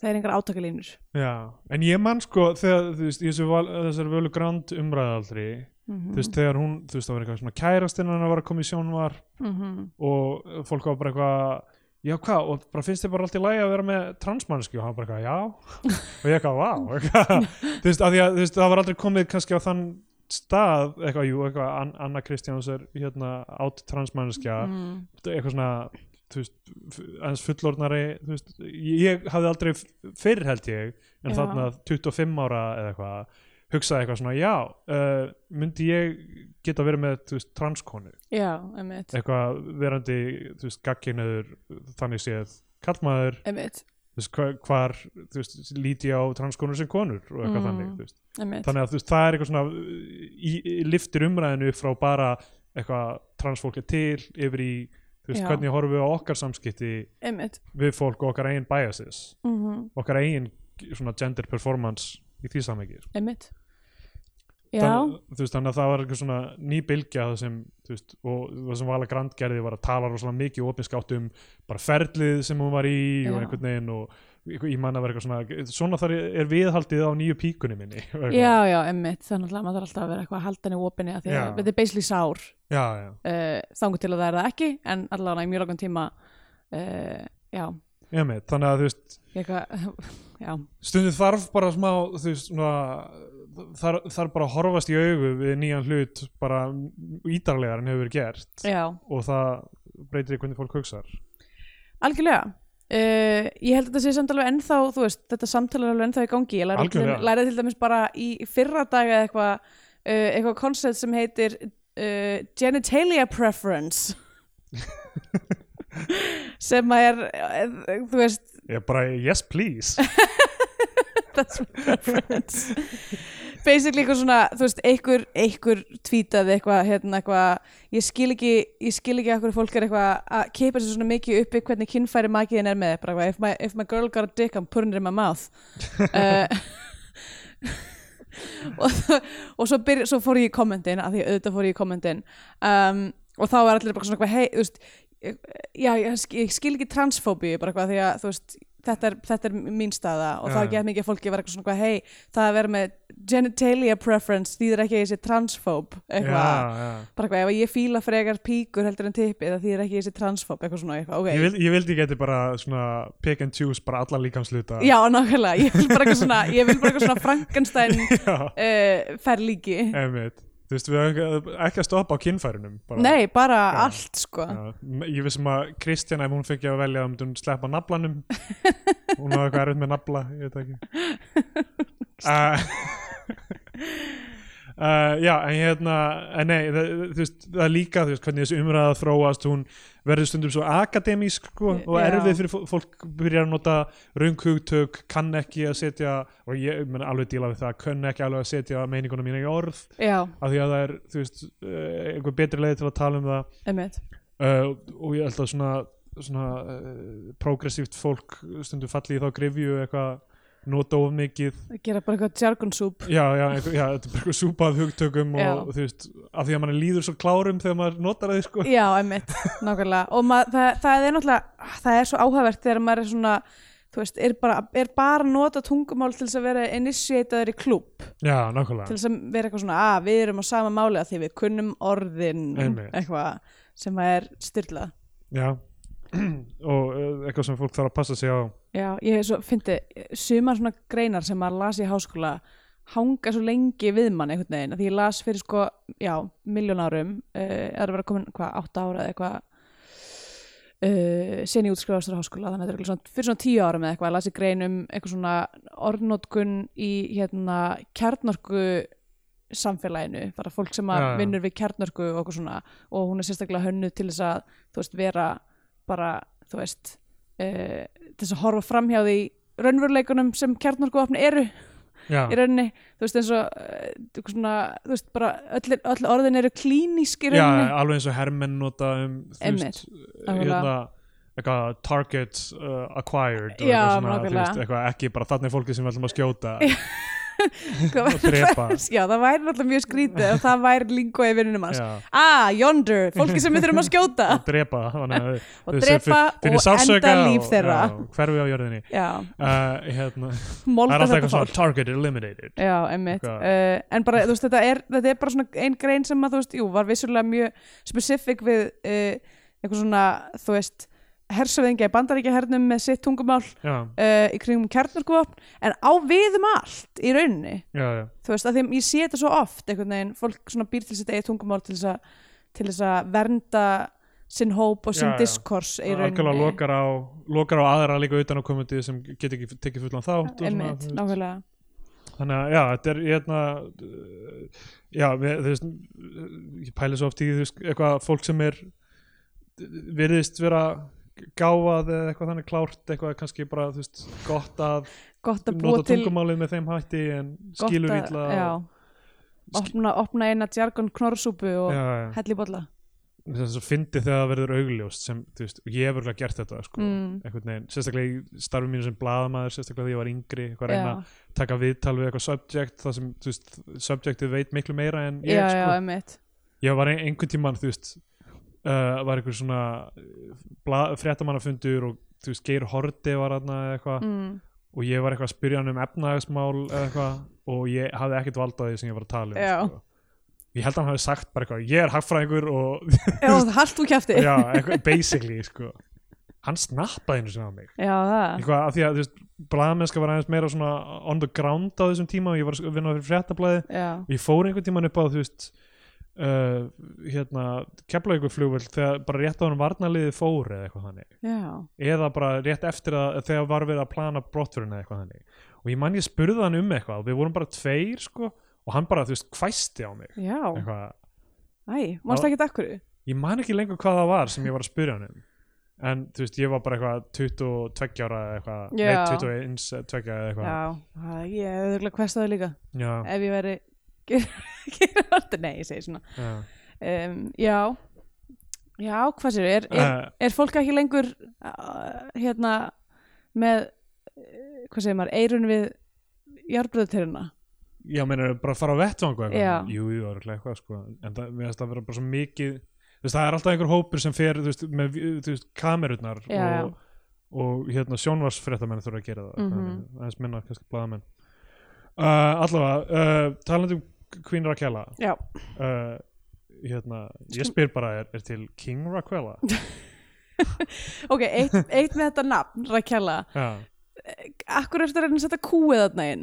S1: það er engar átakalínur
S2: já, en ég man sko þegar, þú veist, í þessu val, þessari völu grand umræðaldri,
S1: Mhm,
S2: þú veist, þegar hún þú veist, það var eitthvað svona kærastinn hann var að koma í sjónvar
S1: mhm.
S2: og fólk var bara eitthvað já hvað, og bara finnst þið bara allt í lagi að vera með transmannski og hann bara eitthvað, já og ég eitthvað, vá eitthvað. þú veist, af því að þú veist, það var aldrei komið kannski á þann stað, eitthvað, jú, eitthvað An Anna Kristjáns er hérna átt transmannskja,
S1: Mm.
S2: eitthvað svona þú veist, f- aðeins fullornari þú veist, ég hafði aldrei f- fyrr held ég, en
S1: Já.
S2: þarna 25 ára eða eitthvað, hugsaði eitthvað svona já, uh, myndi ég geta verið með, þú veist, transkonu
S1: Já, einmitt,
S2: eitthvað verandi þú veist, gagkinuður þannig séð kallmaður,
S1: einmitt,
S2: þú veist, hvar, hvar þú veist, líti ég á transkonur sem konur og eitthvað
S1: Mm.
S2: þannig, þú veist.
S1: einmitt.
S2: þannig að þú veist, það er eitthvað svona uh, í, í, liftir umræðinu upp frá bara eitthvað transfólk er til yfir í, þú veist,
S1: Já.
S2: hvernig horfum við á okkar samskipti
S1: einmitt.
S2: við fólk og okkar eigin biases
S1: Mm
S2: okkar eigin svona gender performance í því samhengi, sko.
S1: einmitt. Já,
S2: Þann- þú veist, þannig að það var eitthvað svona ný bylgja það sem, þú veist, og það sem Vala Grand gerði var að tala rosalega mikið opinskátt um bara ferlið sem hún var í og
S1: Já.
S2: einhvern veginn og ég man að vera eitthvað svona svona þar er viðhaldið á nýju píkunni minni Eitthvað.
S1: já, já, emmitt, þannig að maður þarf alltaf að vera eitthvað að halda henni opinni að því
S2: Já.
S1: að þetta er basically sár
S2: já, já,
S1: uh, þangur til að það er það ekki en allavega í mjög langan tíma uh, já,
S2: ég þannig að þú veist
S1: ég eitthvað já,
S2: stundið þarf bara smá þú veist svona þar, þarf bara að horfast í augu við nýjan hlut bara ítarlegar en hefur verið gert
S1: já,
S2: og það breytir í hvernig fólk hugsar
S1: algjörlega Uh, ég held að þetta sé samt alveg ennþá þú veist, þetta samtala er alveg ennþá í gangi ég læra til,
S2: Algjörlega.
S1: læra til dæmis bara í fyrra daga eitthvað uh, eitthvað koncept sem heitir uh, genitalia preference sem að er eh, þú veist,
S2: ég bara yes please
S1: that's my preference basically eitthvað svona, þú veist, einhver einhver tweetaði eitthvað, hérna eitthvað ég skil ekki, ég skil ekki að hverju fólk er eitthvað að keipa sér svona mikið uppi hvernig kynfæri makiðin er með, bara eitthvað if my, if my girl got a dick, I'm putting it in my mouth uh, og, þ- og svo, byrj, svo fór ég í kommentin, að því auðvitað fór ég í kommentin um, og þá var allir bara svona eitthvað, hei, þú veist já, ég, ég skil ekki transfóbíu bara eitthvað því að, þú veist, þetta er, þetta er mín staða og
S2: Já,
S1: það er
S2: já.
S1: ekki mikið að fólki að vera eitthvað svona eitthvað, hei, það að vera með genitalia preference þýðir ekki að ég sé transfób
S2: já,
S1: eitthvað,
S2: já.
S1: bara eitthvað, ef ég fíla frekar píkur heldur en tippi, það þýðir ekki að ég sé transfób eitthvað svona, eitthvað, ok
S2: Ég, vil, ég vildi geti bara svona pick and choose bara alla líkamsluta
S1: já, nákvæmlega, ég vil bara eitthvað svona ég vil bara eitthvað svona Frankenstein
S2: já
S1: uh, fer líki
S2: einmitt. þú veist við höfum ekki að stoppa á kynfærunum bara.
S1: nei, bara
S2: Já.
S1: allt, sko
S2: Já, m- ég vissum að Kristjana ef hún fengi að velja um hún sleppa naflanum hún var eitthvað erfitt með nafla ég veit það ekki uh, uh, já en hérna en nei, það, þú veist, það er líka þú veist, hvernig þessi umræða þróast hún verður stundum svo akademísk sko, og
S1: Já.
S2: erfið fyrir fó- fólk byrjar að nota raungugtök, kann ekki að setja og ég menn alveg díla við það kann ekki alveg að setja meiningunum mína í orð
S1: já,
S2: af því að það er þú veist, eh, einhver betri leið til að tala um það
S1: einmitt
S2: uh, og ég held að svona, svona uh, progressíft fólk stundum falli í þá grifju eitthvað nota of mikið
S1: gera bara eitthvað jargonsúp
S2: já, já, eitthvað, já, þetta er bara eitthvað súpað hugtökum
S1: Já.
S2: og, þú veist, af því að mann líður svo klárum þegar maður notar það, sko
S1: Já, einmitt, nákvæmlega og mað, það, það er náttúrulega, ah, það er svo áhævert þegar maður er svona, þú veist, er bara, er bara að nota tungumál til þess að vera initiataður í klúb,
S2: já, nákvæmlega
S1: til þess að vera eitthvað svona að við erum á sama máli að því við kunnum orðin
S2: Einmitt.
S1: eitthvað sem að er styrlað
S2: já. og uh, eitthvað sem fólk þarf að passa sig á
S1: Já, ég svo, fyndi, sumar svona greinar sem maður las í háskóla hanga svo lengi við mann einhvern veginn af því ég las fyrir sko, já, miljón árum uh, er að vera komin, hvað, átta ára eða eitthvað uh, sen ég útskrifast frá háskóla þannig að þetta er örugglega svona, fyrir svona tíu árum eða eitthvað las ég grein um eitthvað svona orðnótkun í hérna kjarnorku samfélaginu, bara fólk sem að
S2: Já, já.
S1: vinnur við kjarnorku og okkur svona og hún er sérstaklega hönnuð til þess að þú veist, vera bara, þú veist uh, þess að horfa framhjá því raunveruleikunum sem kjarnorkuvapni eru
S2: já,
S1: í rauninni, þú veist eins og eh, eitthvað svona, þú veist bara öll, öll orðin eru klínísk í
S2: já
S1: rauninni
S2: alveg eins og hermenn nota um, þú veist,
S1: nákvæmlega.
S2: hérna eitthvað target uh, acquired og
S1: Já,
S2: eitthvað svona, þú
S1: nákvæmlega.
S2: veist, eitthvað ekki bara þarna er fólkið sem við ætlum að skjóta
S1: Hvað
S2: og drepa
S1: Já, það væri náttúrulega mjög skrítið ef það væri lingó í vinnunum hans
S2: já
S1: Ah, yonder, fólki sem við þurfum að skjóta
S2: og drepa þannig að
S1: og
S2: þau séu
S1: drepa
S2: fyr- finni
S1: og
S2: sársauka
S1: enda líf
S2: og-
S1: þeirra
S2: já, hverfi á jörðinni
S1: Já,
S2: uh, hérna, það er
S1: molda
S2: alltaf
S1: þetta fólk
S2: eitthvað svona target eliminated
S1: Já, emmitt.
S2: Eitthvað.
S1: Uh, en bara, þú veist, þetta er, þetta er bara svona ein grein sem að, þú veist, jú, var vissulega mjög specifik við uh, eitthvað svona, þú veist, hersöfðingja í bandaríkjahernum með sitt tungumál uh,
S2: já,
S1: í kringum kjarnarkuvopn, en á viðum allt í rauninni,
S2: já, já,
S1: þú veist, af því að ég sé þetta svo oft, einhvern veginn, fólk svona býr til sitt eigið tungumál til þess að, til þess að vernda sinn hóp og sinn
S2: Já, já.
S1: diskors í
S2: Það
S1: rauninni.
S2: algjörlega lokar á lokar á aðra líka utan á komandi sem get ekki tekið fullan þátt og svona,
S1: Einmitt,
S2: þú veist.
S1: nákvæmlega.
S2: þannig að já, þetta er hérna uh, já, við, þú veist ég pæli svo oft í þú veist eitthvað fólk sem er virðist vera gáfað eða eitthvað þannig klárt eitthvað kannski bara þú veist gott að
S1: Gott að búa
S2: nota
S1: til...
S2: tungumálið með þeim hætti en
S1: gott
S2: skilur
S1: að-
S2: illa
S1: já. opna, opna eina djargon knorrsúpu og
S2: já, já.
S1: hella í bolla
S2: þess að svo fyndi þegar það verður augljóst sem, þú veist, og ég hef örgulega gert þetta sko,
S1: Mm.
S2: einhvern veginn, sérstaklega í starfi mínu sem blaðamaður, sérstaklega þegar ég var yngri eitthvað að reyna
S1: já,
S2: að taka viðtal við eitthvað subject þar sem, þú veist, subjectið veit miklu meira en ég,
S1: já, já,
S2: sko,
S1: emmitt
S2: ég var ein, einhvern tímann, þú veist uh, var einhver svona uh, bla, eh, fréttamannafundur og þú veist, Geir Horti var aðna eitthvað
S1: mm.
S2: og ég var eitthvað að spyrja hann um efnaðismál eða eitthvað og ég hafði ekkert vald á því sem ég var að tala
S1: Já.
S2: um sko. ég held að hann hafi sagt bara eitthvað ég er hagfræðingur og
S1: Já, haltu kjæfti
S2: já, eitthvað, basically sko. hann snappaði einu sinni á mig
S1: Já, það
S2: eitthvað af því að þú veist blaðmennska var aðeins meira svona on the ground á þessum tíma og ég var að vinna fyrir fréttablaði
S1: Já,
S2: og ég fór einhvern tíman upp á þú veist uh, hérna keflavíkur flugvöld þegar bara rétt á hann varnaliði fór eða eitthvað þannig
S1: já,
S2: eða bara rétt eftir að þegar var verið að plana brottfyrirna eða eitthvað þannig og ég man ég spurði hann um eitthvað og við vorum bara tveir sko og hann bara þú veist hvæsti á mig
S1: já
S2: eitthvað
S1: Æ, varst ekki þetta hverju?
S2: ég man ekki lengur hvað það var sem ég var að spyrja hann um en þú veist ég var bara eitthvað 22 ára eða eitthvað
S1: Já.
S2: nei 21, 22 eða eitthvað
S1: Já, það- ég hefði örugglega hvestaði líka
S2: já,
S1: ef ég væri gera alltaf, nei, ég segi svona
S2: já.
S1: um, Já, já, hvað sér er, er,
S2: Uh,
S1: er fólk ekki lengur uh, hérna með, uh, hvað segir maður, eirun við járbröðutirina
S2: já meina bara að fara á vettvangu eitthvað
S1: Já.
S2: jú, jú, örugglega eitthvað sko en það, mér finnst það vera bara svo mikið þú veist það er alltaf einhver hópur sem fer þú veist, með þú veist, kamerurnar
S1: Já, já.
S2: og, og hérna sjónvarsfréttamenn þurfa að gera það mm
S1: Mhm.
S2: aðeins minna kannski blaðamenn uh, allavega, uh, talandi um Queen Raquella
S1: Já,
S2: uh, hérna, ég spyr bara er, er til King Raquella
S1: ok, eitt, eitt með þetta nafn, Rakjala
S2: Já,
S1: Akkur eftir að reyna að setja kúið þarna inn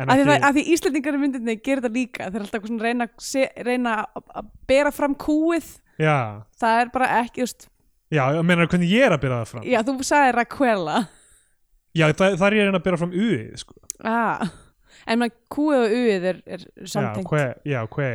S2: en
S1: af því,
S2: ekki,
S1: það- af því Íslendingar í myndinni gera þetta líka þeir eru alltaf eitthvað svona að reyna, að se- reyna að- að bera fram kúið
S2: já,
S1: það er bara ekki, þú veist
S2: já, ég meina hvernig ég er að byrja það fram
S1: já, þú sagði Raquela
S2: Já, það, það er ég að reyna að byrja fram uði sko.
S1: ah. en maður kúið og uið er, er
S2: Já,
S1: samtengt
S2: hve, já, hve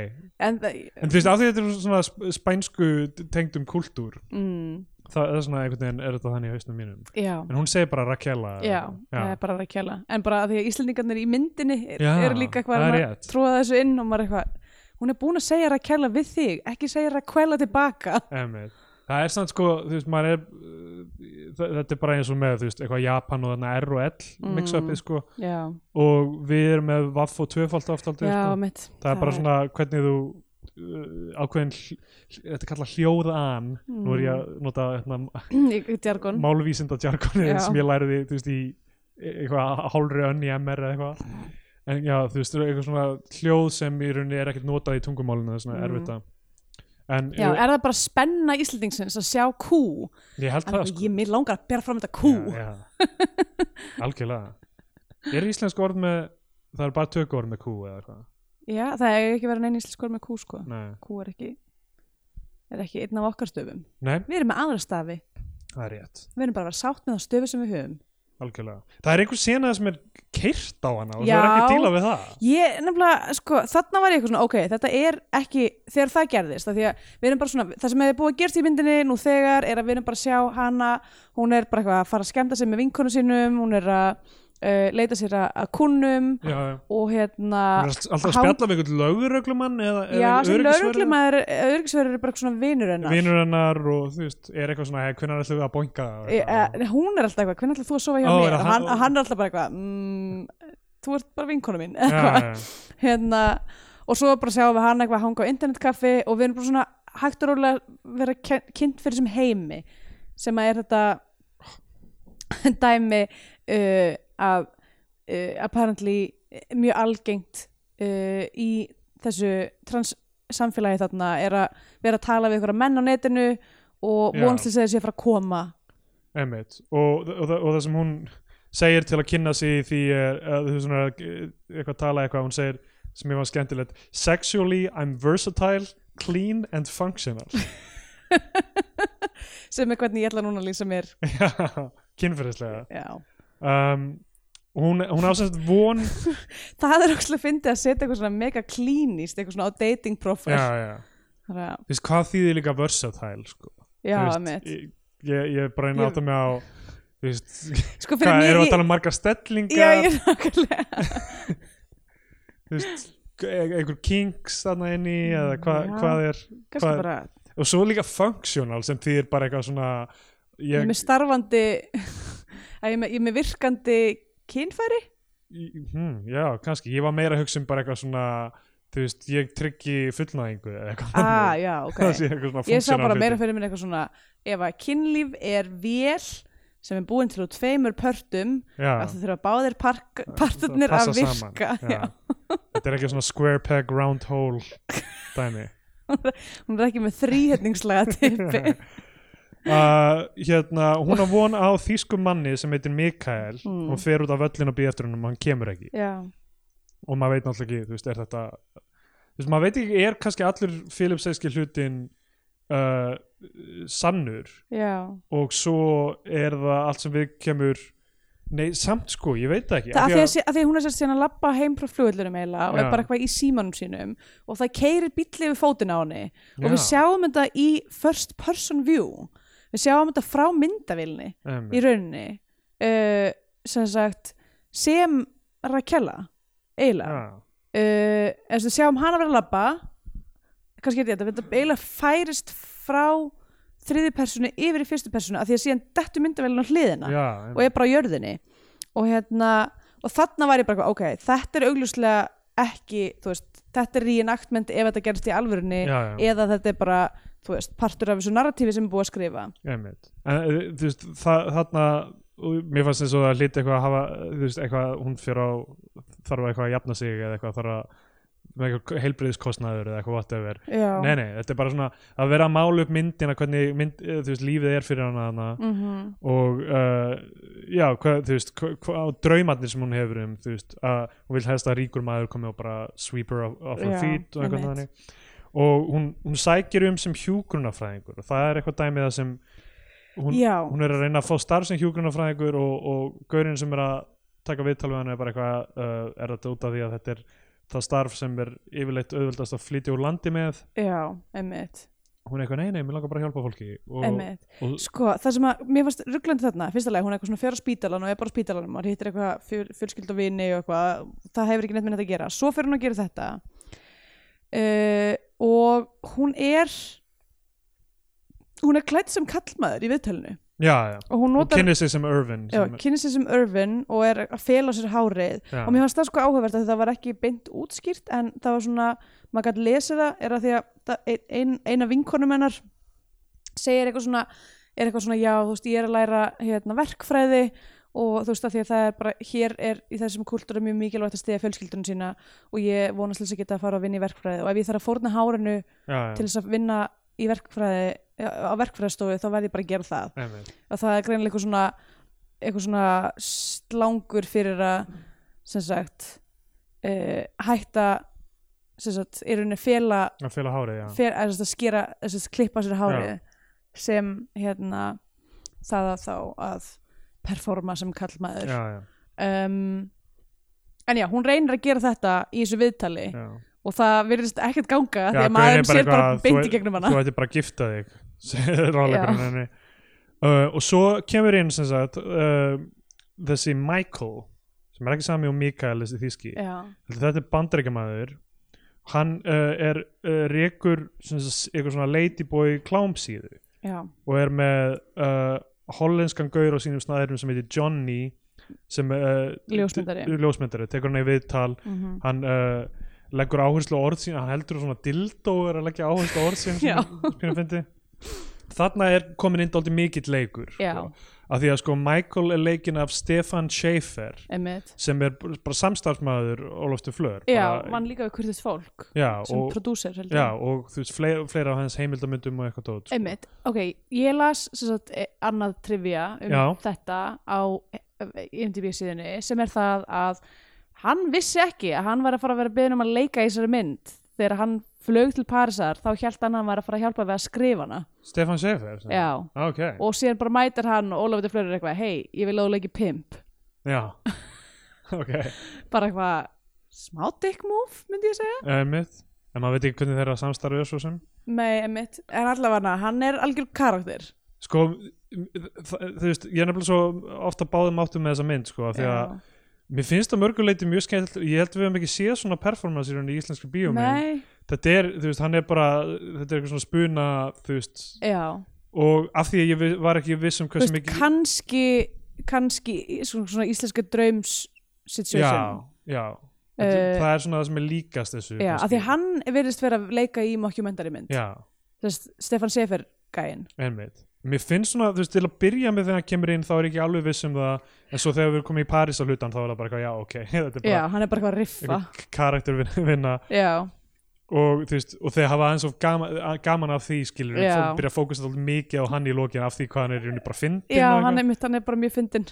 S1: en það
S2: En þú veist, af því þetta er svona sp- spænsku tengdum kultúr
S1: mm,
S2: það er svona einhvern veginn, er þetta þannig í hausnum mínum
S1: já,
S2: En hún segir bara Raquella
S1: já, það
S2: já,
S1: er bara Raquela en bara af því að Íslendingarnir í myndinni er,
S2: Já,
S1: eru líka eitthvað
S2: það er
S1: að
S2: rétt.
S1: tróða þessu inn og maður eitthvað hún er búin að segja Raquela við þig ekki segja Raquela tilbaka
S2: einmitt. Það er samt sko, þú veist, maður er uh, þa- Þetta er bara eins og með, þú veist, eitthvað Japan og þarna R og L
S1: Mm.
S2: mix-upið, sko
S1: já,
S2: og við erum með vaff og tvöfald oft aldrei,
S1: já,
S2: sko.
S1: mitt
S2: það er bara svona hvernig þú uh, ákveðin, hl- hl- þetta er kallað hljóðan nú er ég að nota hérna,
S1: í, í djargon
S2: málvísinda
S1: Já.
S2: sem ég læriði þú veist í eitthvað hálfri önn í MR eða eitthvað en já þú veist eitthvað svona hljóð sem í rauninni er ekkert notað í tungumálinu það er
S1: Mm.
S2: svona mm. erfitt að en
S1: Já,
S2: ég,
S1: er það bara spenna Íslendingsins að sjá kú?
S2: ég held
S1: Hann
S2: það
S1: er
S2: sko
S1: ég mér langar að bera fram þetta kú.
S2: já, já. algjörlega er íslensk orð með það er bara tökur orð með kú eða eitthvað
S1: Já, það hefur ekki verið neinn íslenskur með kú, sko.
S2: nei,
S1: Kú er ekki, er ekki einn af okkar stöfum.
S2: nei
S1: Við erum með aðra stafi.
S2: það er rétt
S1: Við erum bara að vera sátt með það stöfu sem við höfum.
S2: algjörlega. Það er einhver sena sem er kyrt á hana og
S1: Já.
S2: það er ekki að díla við það.
S1: Ég, nefnilega, sko, þarna var ég eitthvað svona, ok, þetta er ekki, þegar það gerðist, af því að við erum bara svona, það sem hefði búið að gerast í myndinni nú þegar er að við erum bara að sjá hana, hún er bara eitthvað að fara að skemmta sig með vinkonu sínum, hún er að uh, leita sér að, að kunnum
S2: Já, já.
S1: og hérna...
S2: Hún er alltaf að
S1: há-
S2: spjalla með einhvern löguröglumann eða,
S1: Já,
S2: eða
S1: sem lögreglumæður örgisverður er bara svona vinur hennar
S2: Vinur hennar og þú veist, er eitthvað svona, hey, hvernig ætlum við að boinga það?
S1: e, e, Hún er alltaf eitthvað, hvernig ætlar þú að sofa hjá
S2: Ó,
S1: mér
S2: er
S1: og
S2: það
S1: hann,
S2: hann-
S1: hann er alltaf bara eitthvað mm, þú ert bara vinkonu mín
S2: já, já,
S1: hérna, og svo bara sjáum við hann eitthvað hanga á internetkaffi og við erum bara svona hægt og rólega vera ken- kynnt fyrir sem heimi sem að er þetta dæmi uh, af uh, apparently mjög algengt uh, í þessu trans samfélagi þarna er að vera að tala við ykkur menn á netinu og
S2: Já.
S1: vonstlis að þessi að fara að koma
S2: einmitt. Og, og, og, og það sem hún segir til að kynna sig í því er, að þú veist, svona, eitthvað tala eitthvað, hún segir, sem ég var skemmtilegt, sexually I'm versatile, clean and functional.
S1: sem er hvernig ég ætla núna að lýsa mér
S2: Já, kynferðislega.
S1: Já.
S2: Um, hún, hún ásæst von
S1: það er ókslega fyndið að setja eitthvað svona mega klínist eitthvað svona á dating profile
S2: já, já.
S1: Þannig að-
S2: Þú veist, hvað þýðir líka versatile sko?
S1: já,
S2: Þú
S1: mitt
S2: ég, ég, ég er bara einn
S1: Ég-
S2: átt að mig á þú veist,
S1: sko fyrir
S2: hvað,
S1: mér
S2: erum við
S1: ég-
S2: að tala um margar
S1: já,
S2: stellingar
S1: ég nákvæmlega
S2: þú veist, e- einhver kinks þarna inni eða hva,
S1: Mm, Já.
S2: hvað er
S1: kannski
S2: Hvað-
S1: bara,
S2: og svo líka functional sem þýðir bara eitthvað svona
S1: ég er
S2: ég,
S1: með starfandi að ég er með, ég er með virkandi kynfæri
S2: hmm, hm, já, kannski, ég var meira að hugsa um bara eitthvað svona þú veist, ég tryggi fullnæðingu eða eitthvað
S1: ah,
S2: þannig.
S1: já, ok
S2: það sé eitthvað
S1: ég sá
S2: svona
S1: bara
S2: funksionál
S1: meira
S2: hluti.
S1: fyrir minn eitthvað svona ef að kynlíf er vél sem er búin til úr tveimur pörtum
S2: já,
S1: um að það þurfa báðir park, partarnir að
S2: það passar saman,
S1: virka
S2: já. þetta er ekki svona square peg round hole dæmi
S1: hún er ekki með þrýhetningslega tippi
S2: uh, hérna, hún á von á þýskum manni sem heitir Mikael
S1: Mm.
S2: hún fer út af völlin og býð eftir hennum og hann kemur ekki
S1: já,
S2: og maður veit náttúrulega ekki, þú veist, er þetta þú veist, maður veit ekki, er kannski allur Filipsæski hlutin uh, sannur
S1: já,
S2: og svo er það allt sem við kemur nei, samt sko, ég veit það ekki
S1: það,
S2: af
S1: að, því að, sé- að því að hún er sér síðan að labba heim frá flugullurum eiginlega og
S2: Já.
S1: er bara eitthvað í símanum sínum og það keirir bíll yfir fótinn á henni og við
S2: Já,
S1: sjáum þetta í first person view við sjáum þetta frá myndavilni
S2: einmitt.
S1: í rauninni uh, sem sagt sem Rakella eiginlega
S2: Já,
S1: uh, eins og sjáum hana vera að labba kannski er þetta, þetta eiginlega færist frá þriði personu yfir í fyrstu personu af því að síðan dettu myndavélun á hliðina
S2: já,
S1: og er bara á jörðinni og hérna, og þarna var ég bara eitthvað, ok, þetta er augljóslega ekki, þú veist, þetta er reenactment ef þetta gerst í alvörunni
S2: já, já,
S1: eða þetta er bara, þú veist, partur af þessu narratífi sem er búið að skrifa
S2: einmitt en uh, þú veist, það, þarna og mér fannst eins og það hlýtt eitthvað að hafa þú veist, eitthvað, hún fyrir á þarf eitthvað að jafna sig eða eitthvað þarf að með eitthvað heilbriðiskostnaður eða eitthvað whatever
S1: Já,
S2: nei, nei, þetta er bara svona að vera að mála upp myndina hvernig mynd, eh, þú veist, lífið er fyrir hana hana
S1: mm -hmm.
S2: og uh, já, hvað, þú veist hvað, hvað, draumarnir sem hún hefur um þú veist, að hún vil helst að ríkur maður komi og bara sweeper off, off her
S1: Já,
S2: feet og eitthvað
S1: einmitt.
S2: þannig og hún, hún sækir um sem hjúgrunafræðingur og það er eitthvað dæmið það sem hún,
S1: já,
S2: hún er að reyna að fá starf sem hjúgrunafræðingur og, og gaurinn sem er að taka viðtal við hann er bara eitthvað uh, er þetta út af því að þetta er það starf sem er yfirleitt auðvöldast að flytja úr landi með
S1: já, emmitt
S2: hún er eitthvað, nei, nei, mér langar bara að hjálpa fólki og,
S1: Einmitt.
S2: og
S1: Sko, það sem að, mér fannst rugglandi þarna, fyrsta lega, hún er eitthvað svona fjara spítalan og er bara á spítalanum og hittir eitthvað fjör, fjölskyld og vini og eitthvað, það hefur ekki neitt með þetta að gera. Svo fyrir hún að gera þetta uh, og hún er, hún er klætt sem kallmaður í viðtölinu
S2: já, já,
S1: og hún
S2: hún
S1: notar,
S2: kynni sig sem Irvin sem,
S1: já, kynni sér sem Irvin og er að fela á sér hárið
S2: já.
S1: og mér fannst það sko áhugavert að það var ekki beint útskýrt en það var svona, maður gæti lesið það er að því að það- ein, eina vinkonum hennar segir eitthvað svona er eitthvað svona, já, þú veist, ég er að læra hérna, verkfræði og þú veist að því að það er bara, hér er í þessum kultúra mjög mikilvægt að stiða fjölskyldunum sína og ég vonast þess að geta að fara að vinna í verkfræði og ef ég þarf að fórna hárinu
S2: já, já.
S1: til þess að vinna í verkfræði á verkfræðistofu þá verð ég bara að gera það
S2: Einmitt.
S1: að það er greinilega eitthvað svona eitthvað svona slangur fyrir að sem sagt uh, hætta sem sagt, er rauninni fela
S2: að fela hárið, já
S1: fer, að, að skera, að, að klippa sér hárið sem hérna það að þá að performa sem kallmaður
S2: já, já,
S1: um, en já, hún reynir að gera þetta í þessu viðtali
S2: já.
S1: og það virðist ekkert ganga því að
S2: Já, gaurinn er
S1: maðurinn sér bara
S2: eitthvað,
S1: beint
S2: þú-
S1: í gegnum hana
S2: þú ætti bara að gifta þig ráleikurinn henni uh, og svo kemur inn sem sagt uh, þessi Michael sem er ekki sami og Mikael þessi þíski
S1: já,
S2: þetta er bandaríkjamaður hann uh, er uh, rekur sem sagt, eitthvað svona ladyboy klámsíðu
S1: já,
S2: og er með uh, hollenskan gaur á sínum snæðurum sem heitir Johnny sem uh,
S1: Ljósmyndari.
S2: ljósmyndari, tekur hann í viðtal
S1: mm
S2: hann uh, leggur áherslu á orð sín hann heldur svona dildó er að leggja áherslu á orð sín
S1: Já.
S2: sem fyndi þarna er komin inn dálítið mikill leikur
S1: Já.
S2: sko. af því að sko Michael er leikinn af Stefan Schaefer
S1: einmitt
S2: sem er b- bara samstarfsmaður Óloftur Flör
S1: já,
S2: bara,
S1: mann líka við kurðist fólk
S2: já,
S1: sem
S2: og,
S1: prodúser heldur
S2: já,
S1: ég.
S2: og þú veist fleira, fleira af hans heimildamöndum og eitthvað tótt sko.
S1: Einmitt, ok, ég las sem sagt, eh, annað trivia um
S2: Já.
S1: þetta á eh, IMDb síðunni sem er það að hann vissi ekki að hann var að fara að vera beðin um að leika í þessari mynd þegar hann flög til Parísar þá hjælt hann að hann var að fara að hjálpa við að skrifa hana
S2: Stefan Schaefer sem-
S1: Já,
S2: Ah, ok,
S1: og síðan bara mætir hann og Ólafur Flöður eitthvað, hei, ég vil að þú leiki pimp
S2: já ok,
S1: bara eitthvað, smá dick move myndi ég segja
S2: einmitt en maður veit ekki hvernig þeirra samstarfið er svo sem
S1: Nei, emitt, en allavega hann er algjör karakter
S2: sko þa- þú veist, ég er nefnilega svo ofta báðum áttum með þessa mynd sko, af því að mér finnst það mörguleiti mjög skemmt ég held við hefum ekki séð svona performance í rauninni í íslenskri bíómi
S1: Nei,
S2: þetta er, þú veist, hann er bara þetta er eitthvað svona spuna, þú veist
S1: já
S2: og af því að ég vi- var ekki viss um
S1: Þú
S2: hversu
S1: veist,
S2: mikið
S1: kannski kannski í- svona, svona íslenska draums situation
S2: já, já,
S1: Eh,
S2: það er svona það sem er líkast þessu
S1: já, af
S2: kannski.
S1: því að hann virðist vera að leika í mockumentary mynd
S2: já,
S1: Þess, Stefan Sefer gæinn
S2: einmitt mér finnst svona, þú veist, til að byrja með þegar hann kemur inn þá er ég ekki alveg viss um það en svo þegar við erum komið í París á hlutan þá er það bara eitthvað, já, ok þetta er
S1: já,
S2: bara
S1: hann er bara eitthvað að riffa
S2: einhver karaktervinna
S1: já,
S2: og þú veist, og þeir hafa aðeins of gaman, gaman af því skilur
S1: Já.
S2: fólk byrja að fókusa alltaf mikið á hann í lokin af því hvað hann er í rauninni bara fyndin
S1: já
S2: og eitthvað.
S1: hann, er, hann er bara mjög fyndin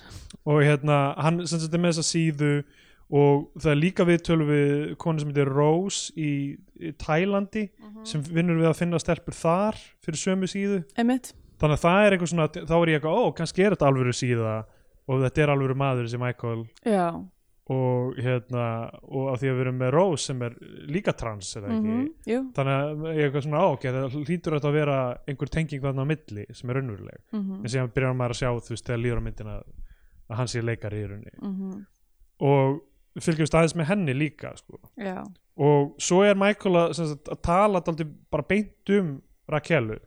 S2: og hérna, hann sem þetta er með þessa síðu og það er líka viðtölu við konu sem heitir Rose í, í Tælandi
S1: Mhm.
S2: sem vinnur við að finna stelpur þar fyrir sömu síðu
S1: einmitt,
S2: þannig að það er eitthvað svona, þá er ég eitthvað ó, kannski er þetta alvöru síða og þetta er alvöru maður sem Michael
S1: já,
S2: og hérna, og af því að við erum með Rose sem er líka trans eða ekki
S1: mm jú
S2: þannig að ég er eitthvað svona á, ok, það hlýtur þetta að vera einhver tenging þarna á milli sem er unnveruleg
S1: mm
S2: en síðan byrjar maður að sjá þú veist þegar líður á myndina að hann sé leikari í rauninni
S1: -hmm.
S2: og fylgjumst aðeins með henni líka sko.
S1: já,
S2: og svo er Michael að, sem sagt, að tala daldið bara beint um Rakelu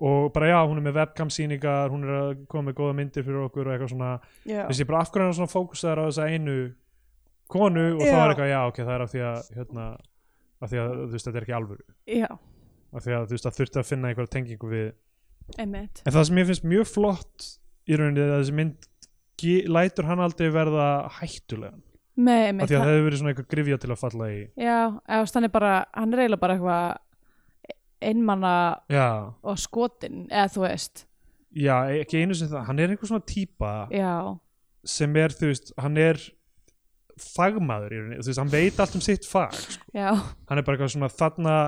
S2: og bara já, hún er með webcam sýningar hún er að koma með góða myndir fyrir okkur og eitthvað svona,
S1: já,
S2: þessi bara af hverju er hann svona fókusaður á þessa einu konu og þá
S1: Já.
S2: er eitthvað, já ok, það er af því að hérna, af því að þú veist, þetta er ekki alvöru
S1: já,
S2: af því að þú veist, það þurfti að finna einhverja tengingu við
S1: einmitt
S2: en það sem ég finnst mjög flott í rauninni er að þessi mynd ge- lætur hann aldrei verða hættulegan
S1: með
S2: af
S1: einmitt,
S2: því að
S1: hann,
S2: það hefur verið svona eitthvað grifja til að falla í
S1: já, eða, hann er bara hann er eiginlega bara eitthvað einmanna
S2: já,
S1: og skotin eða þú veist,
S2: já, ekki einu sem það hann er einhver svona típa
S1: já
S2: sem er, þú veist, hann er fagmaður í rauninni, þú veist, hann veit allt um sitt fag, sko.
S1: já,
S2: hann er bara eitthvað svona þarna,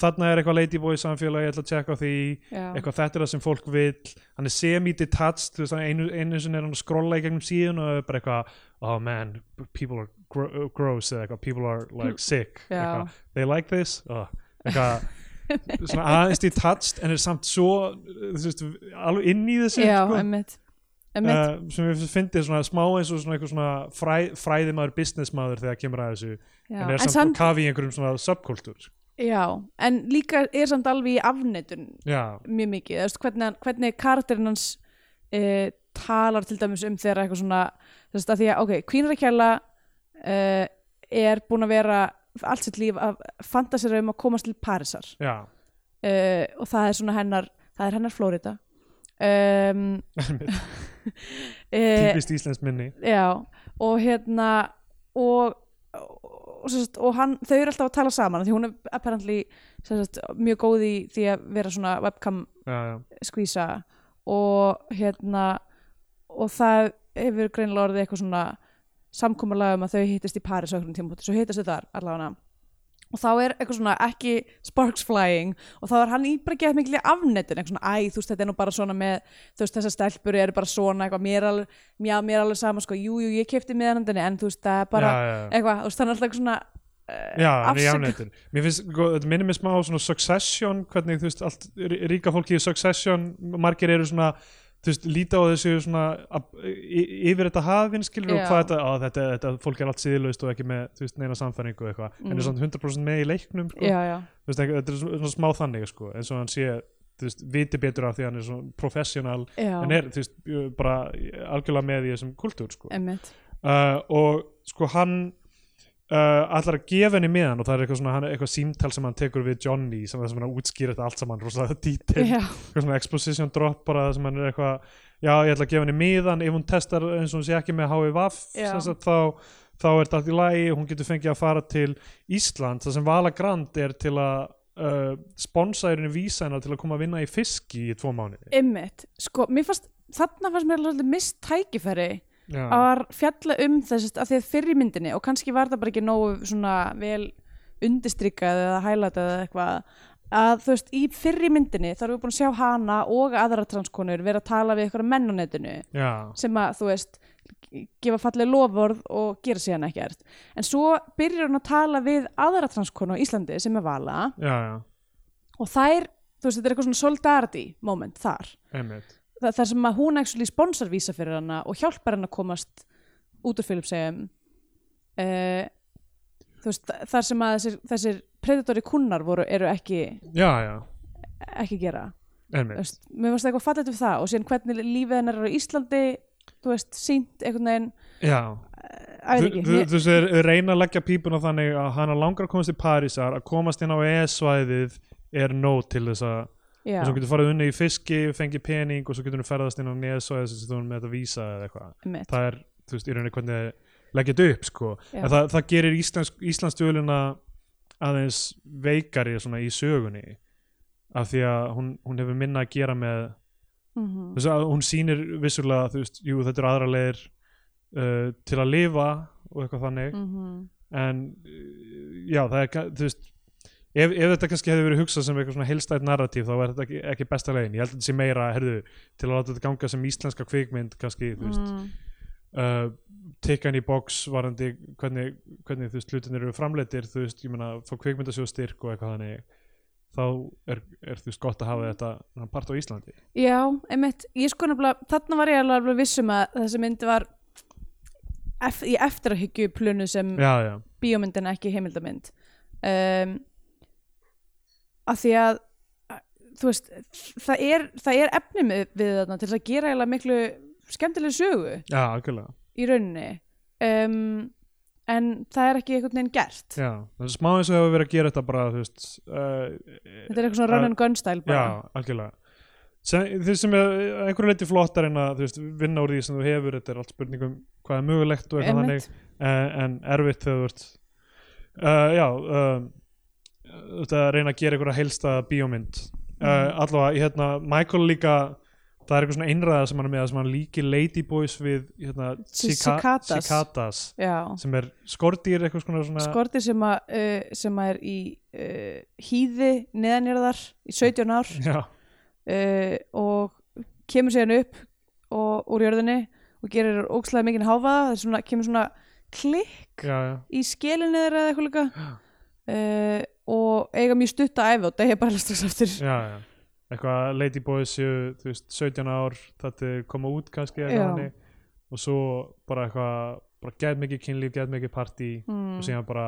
S2: þarna er eitthvað ladyboy samfélagi, ég ætla að tjekka á því
S1: já,
S2: eitthvað þetta er það sem fólk vill hann er semi-detached, þú veist, hann einu, einu sinni er hann að skrolla í gegnum síðan og er bara eitthvað oh man, people are gro gross eða eitthvað, people are like sick
S1: Já.
S2: eitthvað, they like this oh, eitthvað, svona aðeins detached en er samt svo þú veist, alveg inn í þessu
S1: já,
S2: sko.
S1: einmitt einmitt,
S2: Uh, sem við fyndið svona smá eins og svona, eitthvað svona fræ, fræðimaður businessmaður þegar kemur að þessu
S1: já,
S2: Eh, en er samt, samt kafi í einhverjum svona subkultúr
S1: Já, en líka er samt alveg í afneitun
S2: já,
S1: mjög mikið, þú veist, hvernig, hann- hvernig karakterinn hans uh, talar til dæmis um þegar eitthvað svona, þú veist, að því að, ok, Queen Raquella uh, er búin að vera allt sitt líf að fantasera um að komast til Parísar
S2: já,
S1: uh, og það er svona hennar, það er hennar Flórida um, uh,
S2: típist íslensk minni
S1: Já, og hérna og, og, sem sagt, og hann, þau eru alltaf að tala saman af því hún er apparently sem sagt, mjög góð í því að vera svona webcam
S2: já, já,
S1: skvísa og hérna og það hefur greinilega orðið eitthvað svona samkomulega um að þau hittist í Paris á einhverjum tímpúti, svo hittast þau þar allavega og þá er eitthvað svona ekki sparks flying og þá er hann í bara geðað mikil afnettun, eitthvað svona æ, þú veist, þetta er nú bara svona með, þú veist, þessar stelpur eru bara svona, eitthvað, mér er alveg, já, mér er alveg sama, sko, jú, jú, ég kefti meðanandinni en þú veist, það er bara, eh,
S2: já, já.
S1: eitthvað, þú veist, þannig alltaf eitthvað svona
S2: Já, hann er í
S1: afsaka-
S2: afneitun Mér finnst, sko, þetta minnir mér smá á svona Succession, hvernig þú veist, allt rí- ríka fólki í Succession, margir eru svona þú veist, líta á þessu svona ab- y- yfir þetta hafinn skilur
S1: Já.
S2: og hvað þetta, á, þetta, þetta, fólk er allt síðlaust og ekki með, þú veist, neina samfæringu og eitthvað en
S1: Mm.
S2: er svona 100% með í leiknum sko.
S1: já, já,
S2: Þú veist, ekki- þetta er svona svona smá þannig, sko, eins og hann sé þú veist, viti betur af því að hann er svona professional,
S1: já,
S2: en er, þú veist, bara algjörlega með í þessum kultúr, sko
S1: emmitt
S2: uh, og sko hann uh, allar að gefa henni með hann og það er eitthvað, svona, hann, eitthvað símtal sem hann tekur við Johnny sem, sem hann útskýr þetta allt saman rosalega dítil,
S1: já,
S2: eitthvað svona exposition drop bara þar sem hann er eitthvað, já ég ætla að gefa henni miðan ef hún testar eins og hún sé ekki með HIV
S1: Já.
S2: sem sagt, þá, þá er þetta allt í lagi hún getur fengið að fara til Ísland þar sem Vala Grand er til að uh, sponsa henni vísa hennar til að koma að vinna í fiski í tvo mánuði
S1: Einmitt, sko, mér fannst þarna fannst mér alveg mist tækifæri
S2: Já,
S1: að var fjalla um þess að því að fyrri myndinni og kannski var það bara ekki nógu svona vel undistrykað eða hælatað eða eitthvað að þú veist, í fyrri myndinni þá erum við búin að sjá hana og aðra transkonur vera að tala við ykkur menn á netinu
S2: já,
S1: sem að þú veist ge- gefa falleg lofvörð og gera síðan ekkert en svo byrjar hún að tala við aðra transkonu á Íslandi sem er Vala
S2: já, já,
S1: og þær, þú veist, þetta er eitthvað svona solidarity moment þar
S2: einmitt
S1: það, það sem að hún actually sponsor vísa fyrir hana og hjálpar hana að komast út úr Filipsheim uh, þú veist þa- þar sem að þessir, þessir predatori kunnar voru, eru ekki,
S2: Já, já,
S1: ekki gera Þú
S2: einmitt
S1: veist, mér varst eitthvað fallet um það og síðan hvernig lífið hennar er á Íslandi þú veist, sínt einhvern veginn
S2: Já,
S1: að veit
S2: Þú-
S1: ekki
S2: þú-
S1: mér-
S2: þú segir, reyna að leggja pípuna þannig að hana langar að komast til Parísar að komast inn á ES-svæðið er nóg til þess að
S1: já,
S2: og svo getur farið unni í fiski, fengið pening og svo getur hún ferðast inn á ES-svæðið sem þú erum með þetta vísa eða eitthvað
S1: einmitt.
S2: það er, þú veist, í rauninni hvernig þeir leggja þetta upp sko,
S1: Já.
S2: en það, það gerir Íslands, Íslandsdjöluna aðeins veikari svona í sögunni af því að hún, hún hefur minna að gera með
S1: Mhm.
S2: þú veist að hún sýnir vissulega þú veist, jú þetta eru aðra leir uh, til að lifa og eitthvað þannig
S1: Mhm.
S2: en uh, já það er ka- þú veist ef, ef þetta kannski hefði verið hugsað sem eitthvað svona heilstætt narratív þá var þetta ekki, ekki besta leiðin ég held að þetta sé meira, herðu, til að láta þetta ganga sem íslenska kvikmynd kannski, þú veist
S1: Mm.
S2: uh, tikkan í box varandi hvernig, hvernig þú veist hlutin eru framleittir, þú veist, ég meina fá kvikmyndasjóð styrk og eitthvað þannig þá er, er þú veist gott að hafa þetta svona part á Íslandi
S1: Já, einmitt, ég sko nefnilega, þarna var ég alveg alveg vissum að þessi mynd var ef, í eftirhyggju plunu sem
S2: já, já,
S1: bíómyndin ekki heimildamynd um, að því að að- þú veist, það er, það er efni með, við þarna til að gera eiginlega miklu skemmtileg sögu
S2: já, algjörlega
S1: í rauninni um, en það er ekki einhvern veginn gert
S2: Já, það er smá eins og hefur verið að gera þetta bara, þú veist, uh,
S1: þetta er eitthvað svona run and gun style
S2: já,
S1: bara
S2: algjörlega. Sem, þeir sem er að einhverju leiti flottar en að, þú veist, vinna úr því sem þú hefur, þetta er allt spurningum hvað er mögulegt og eitthvað þannig,
S1: Einmitt.
S2: en, en erfitt þegar þú ert, uh, já, um, þú veist, að reyna að gera einhverja heilsta bíómynd. Uh, allavega, í hérna, Michael líka, það er eitthvað svona einræða sem hann er með, sem hann líkir Ladyboys við, hérna, cika-
S1: Cicadas.
S2: cicadas,
S1: já.
S2: sem er skordýr, eitthvað svona, svona
S1: skortir sem, að, uh, sem að er í uh, hýði neðanjörðar í 17 ár
S2: já.
S1: uh, og kemur síðan upp og, úr jörðinni og gerir ókslega mikinn háfaða það er svona, kemur svona klikk
S2: Já, já.
S1: í skelinni þeirra eða eitthvað líka uh, og eiga mjög stutt að æfi og degja bara strax aftur
S2: já, já. eitthvað Ladyboys séu þú veist, 17 ár þetta er koma út kannski eitthvað
S1: Já.
S2: þannig. og svo bara eitthvað bara get mikið kynlíf, get mikið partí
S1: Mm.
S2: og síðan bara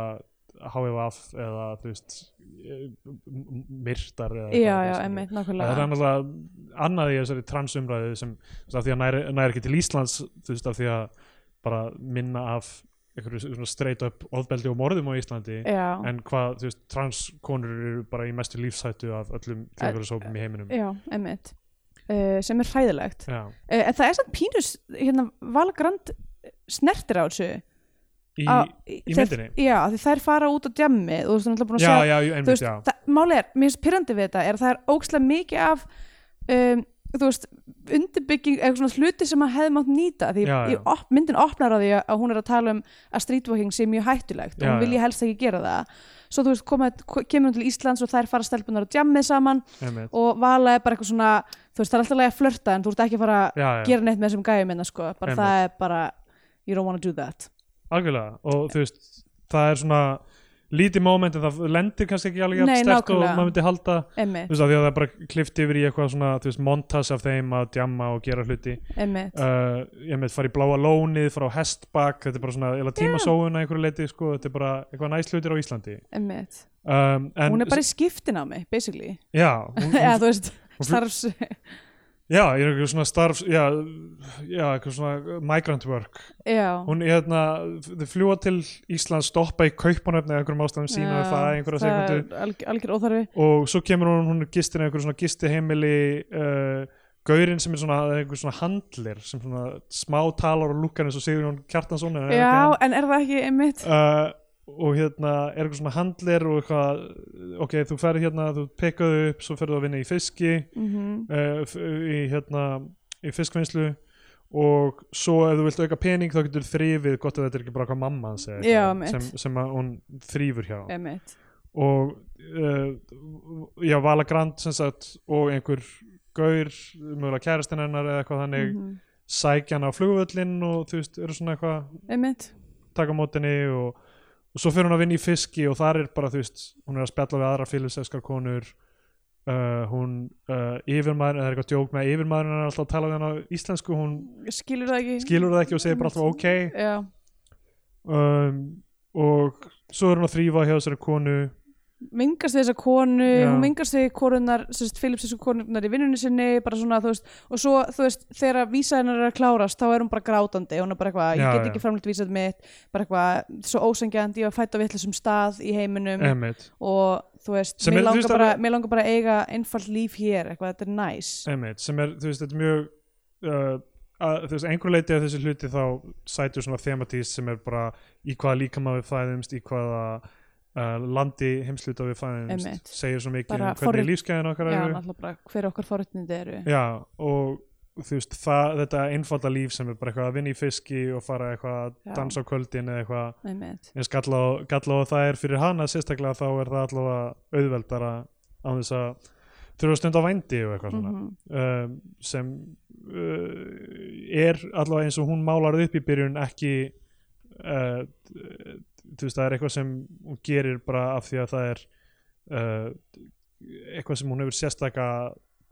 S2: háið af eða þú veist eh, m- m- myrtar eða
S1: já,
S2: eitthvað,
S1: já,
S2: skilur.
S1: emmitt,
S2: Það er
S1: nákvæmlega
S2: annars annað í þessari transumræðu sem þú veist, af því að næri, næri ekki til Íslands þú veist af því að bara minna af einhverju svona straight up ofbeldi og morðum á Íslandi
S1: já,
S2: en hvað, þú veist, transkonur eru bara í mestu lífshættu af öllum þjóðfélagsópum í heiminum
S1: já, emmitt uh, sem er hræðilegt
S2: Já.
S1: uh, en það er samt pínus hérna, valgrand snertir á þessu
S2: í,
S1: Á-
S2: í
S1: þeir-
S2: myndinni
S1: Já, af því þær fara út á djammi og þú veist, þú náttúrulega búin að
S2: já,
S1: sjá
S2: já, jú,
S1: þú
S2: einmitt,
S1: veist,
S2: já
S1: það, máli er, mér finnst pyrrandi við þetta er að það er ókslega mikið af um, þú veist, undirbygging eitthvað svona hluti sem að hefði mátt nýta því
S2: Já, já.
S1: Ég, op, myndin opnar á því að hún er að tala um að streetwalking sé mjög hættulegt og
S2: Já,
S1: hún
S2: já.
S1: vilji helst ekki gera það svo þú veist, koma, ko- kemur hún til Íslands og þær fara stelpunar á djammið saman
S2: einmitt.
S1: og vala er bara eitthvað svona þú veist, það er alltaf leið að flörta en þú ert ekki að fara að
S2: já, já,
S1: gera neitt með þessum gæjum minna sko, bara
S2: Einmitt.
S1: það er bara you don't wanna do that
S2: algjörlega og þú veist, það er svona lítið moment en það lendir kannski ekki alveg
S1: Nei,
S2: jafn sterkt og
S1: nákvæmlega.
S2: maður myndi halda
S1: emmi,
S2: þú veist, af því að það er bara klift yfir í eitthvað svona þú veist, montas af þeim að djamma og gera hluti
S1: emmi
S2: uh, ég með fara í bláa lónið, fara á hestbak þetta er bara svona, eða tímasóun að einhverju leiti sko, þetta er bara eitthvað næst hlutir á Íslandi
S1: Einmitt.
S2: um, en,
S1: Hún er bara í skiptin á mig, basically
S2: já, hún, hún,
S1: eða þú veist,
S2: hún-
S1: starfs
S2: Já, ég er eitthvað svona starf já, já, eitthvað svona migrant work
S1: já,
S2: hún er hérna, þau fljúa til Ísland stoppa í kaupanöfni eða einhverjum ástæðum sína
S1: Já,
S2: það einhverja
S1: það er
S2: sekundu
S1: alg- algjör óþarfi
S2: og svo kemur hún, hún er gistin í einhverju svona gisti heimili uh, gaurinn sem er svona einhver svona handlir sem svona smá talar og lukkar eins og Sigurjón Kjartansson eða
S1: já,
S2: eitthvað.
S1: en er það ekki einmitt
S2: uh, og hérna er eitthvað svona handlir og eitthvað, ok, þú ferð hérna þú pekkaðu upp, svo ferðu að vinna í fiski
S1: mm
S2: uh, f- í, hérna, í fiskvinnslu og svo ef þú vilt auka pening þá getur þrifið gott að þetta er ekki bara hvað mamma hans eða
S1: Já,
S2: eitthvað
S1: mitt.
S2: sem, sem að hún þrýfur hjá
S1: einmitt
S2: og uh, já, Vala Grand sem sagt og einhver gaur, mögulega kærastinn hennar eða eitthvað þannig, mm
S1: Mhm.
S2: sækja hann á flugvöllinn og þú veist, eru svona eitthvað
S1: einmitt,
S2: taka á mótinni og, og svo fyrir hún að vinna í fiski og þar er bara þú veist, hún er að spjalla við aðra félagsefskar konur uh, hún uh, yfirmaður, það er eitthvað djók með að yfirmaðurinn er alltaf að tala við hann á íslensku hún
S1: skilur það ekki
S2: skilur það ekki og segir bara alltaf ok
S1: já,
S2: um, og svo er hún að þrýfa hjá þessari konu
S1: vingast við þessa konu,
S2: Já.
S1: hún vingast við konunar, sérst, Filipsinsku konurnar í vinnunni sinni, bara svona, þú veist, og svo, þú veist, þegar vísa hennar er að klárast, þá er hún bara grátandi, hún er bara eitthvað,
S2: Já,
S1: ég get
S2: já.
S1: ekki framlýtt vísað mitt, bara eitthvað, svo ósengjandi, ég var fætt á vitlisum stað í heiminum
S2: Emmett,
S1: og, þú veist,
S2: Sem
S1: mér
S2: er- þú
S1: langar,
S2: veist,
S1: bara,
S2: það-
S1: mér langar bara að eiga einfalt líf hér, eitthvað, þetta er næs.
S2: Emmett, sem er, þú veist, þetta er mjög, uh, að, þú veist, einhver leiti af þessi hluti þá sætur svona thematís sem er bara í hvaða líkama við fæðumst, í hvaða uh, landi heimsluta við fæðumst,
S1: Einmitt.
S2: segir svo mikið
S1: Bara
S2: um hvernig
S1: forrit-
S2: lífskeiðin okkar
S1: Já,
S2: eru.
S1: náttúrulega bara hver okkar forutnindi eru.
S2: Já, og þú veist, það, þetta einfalda líf sem er bara eitthvað að vinna í fiski og fara eitthvað að
S1: Já.
S2: dansa á kvöldin eða eitthvað
S1: Einmitt.
S2: eins galla á, galla á það er fyrir hana sérstaklega þá er það allavega auðveldara á þess að þurfa að stunda á vændi og eitthvað svona
S1: Mhm.
S2: um, sem uh, er allavega eins og hún málar upp í byrjun ekki uh, þú veist það er eitthvað sem hún gerir bara af því að það er uh, eitthvað sem hún hefur sérstaka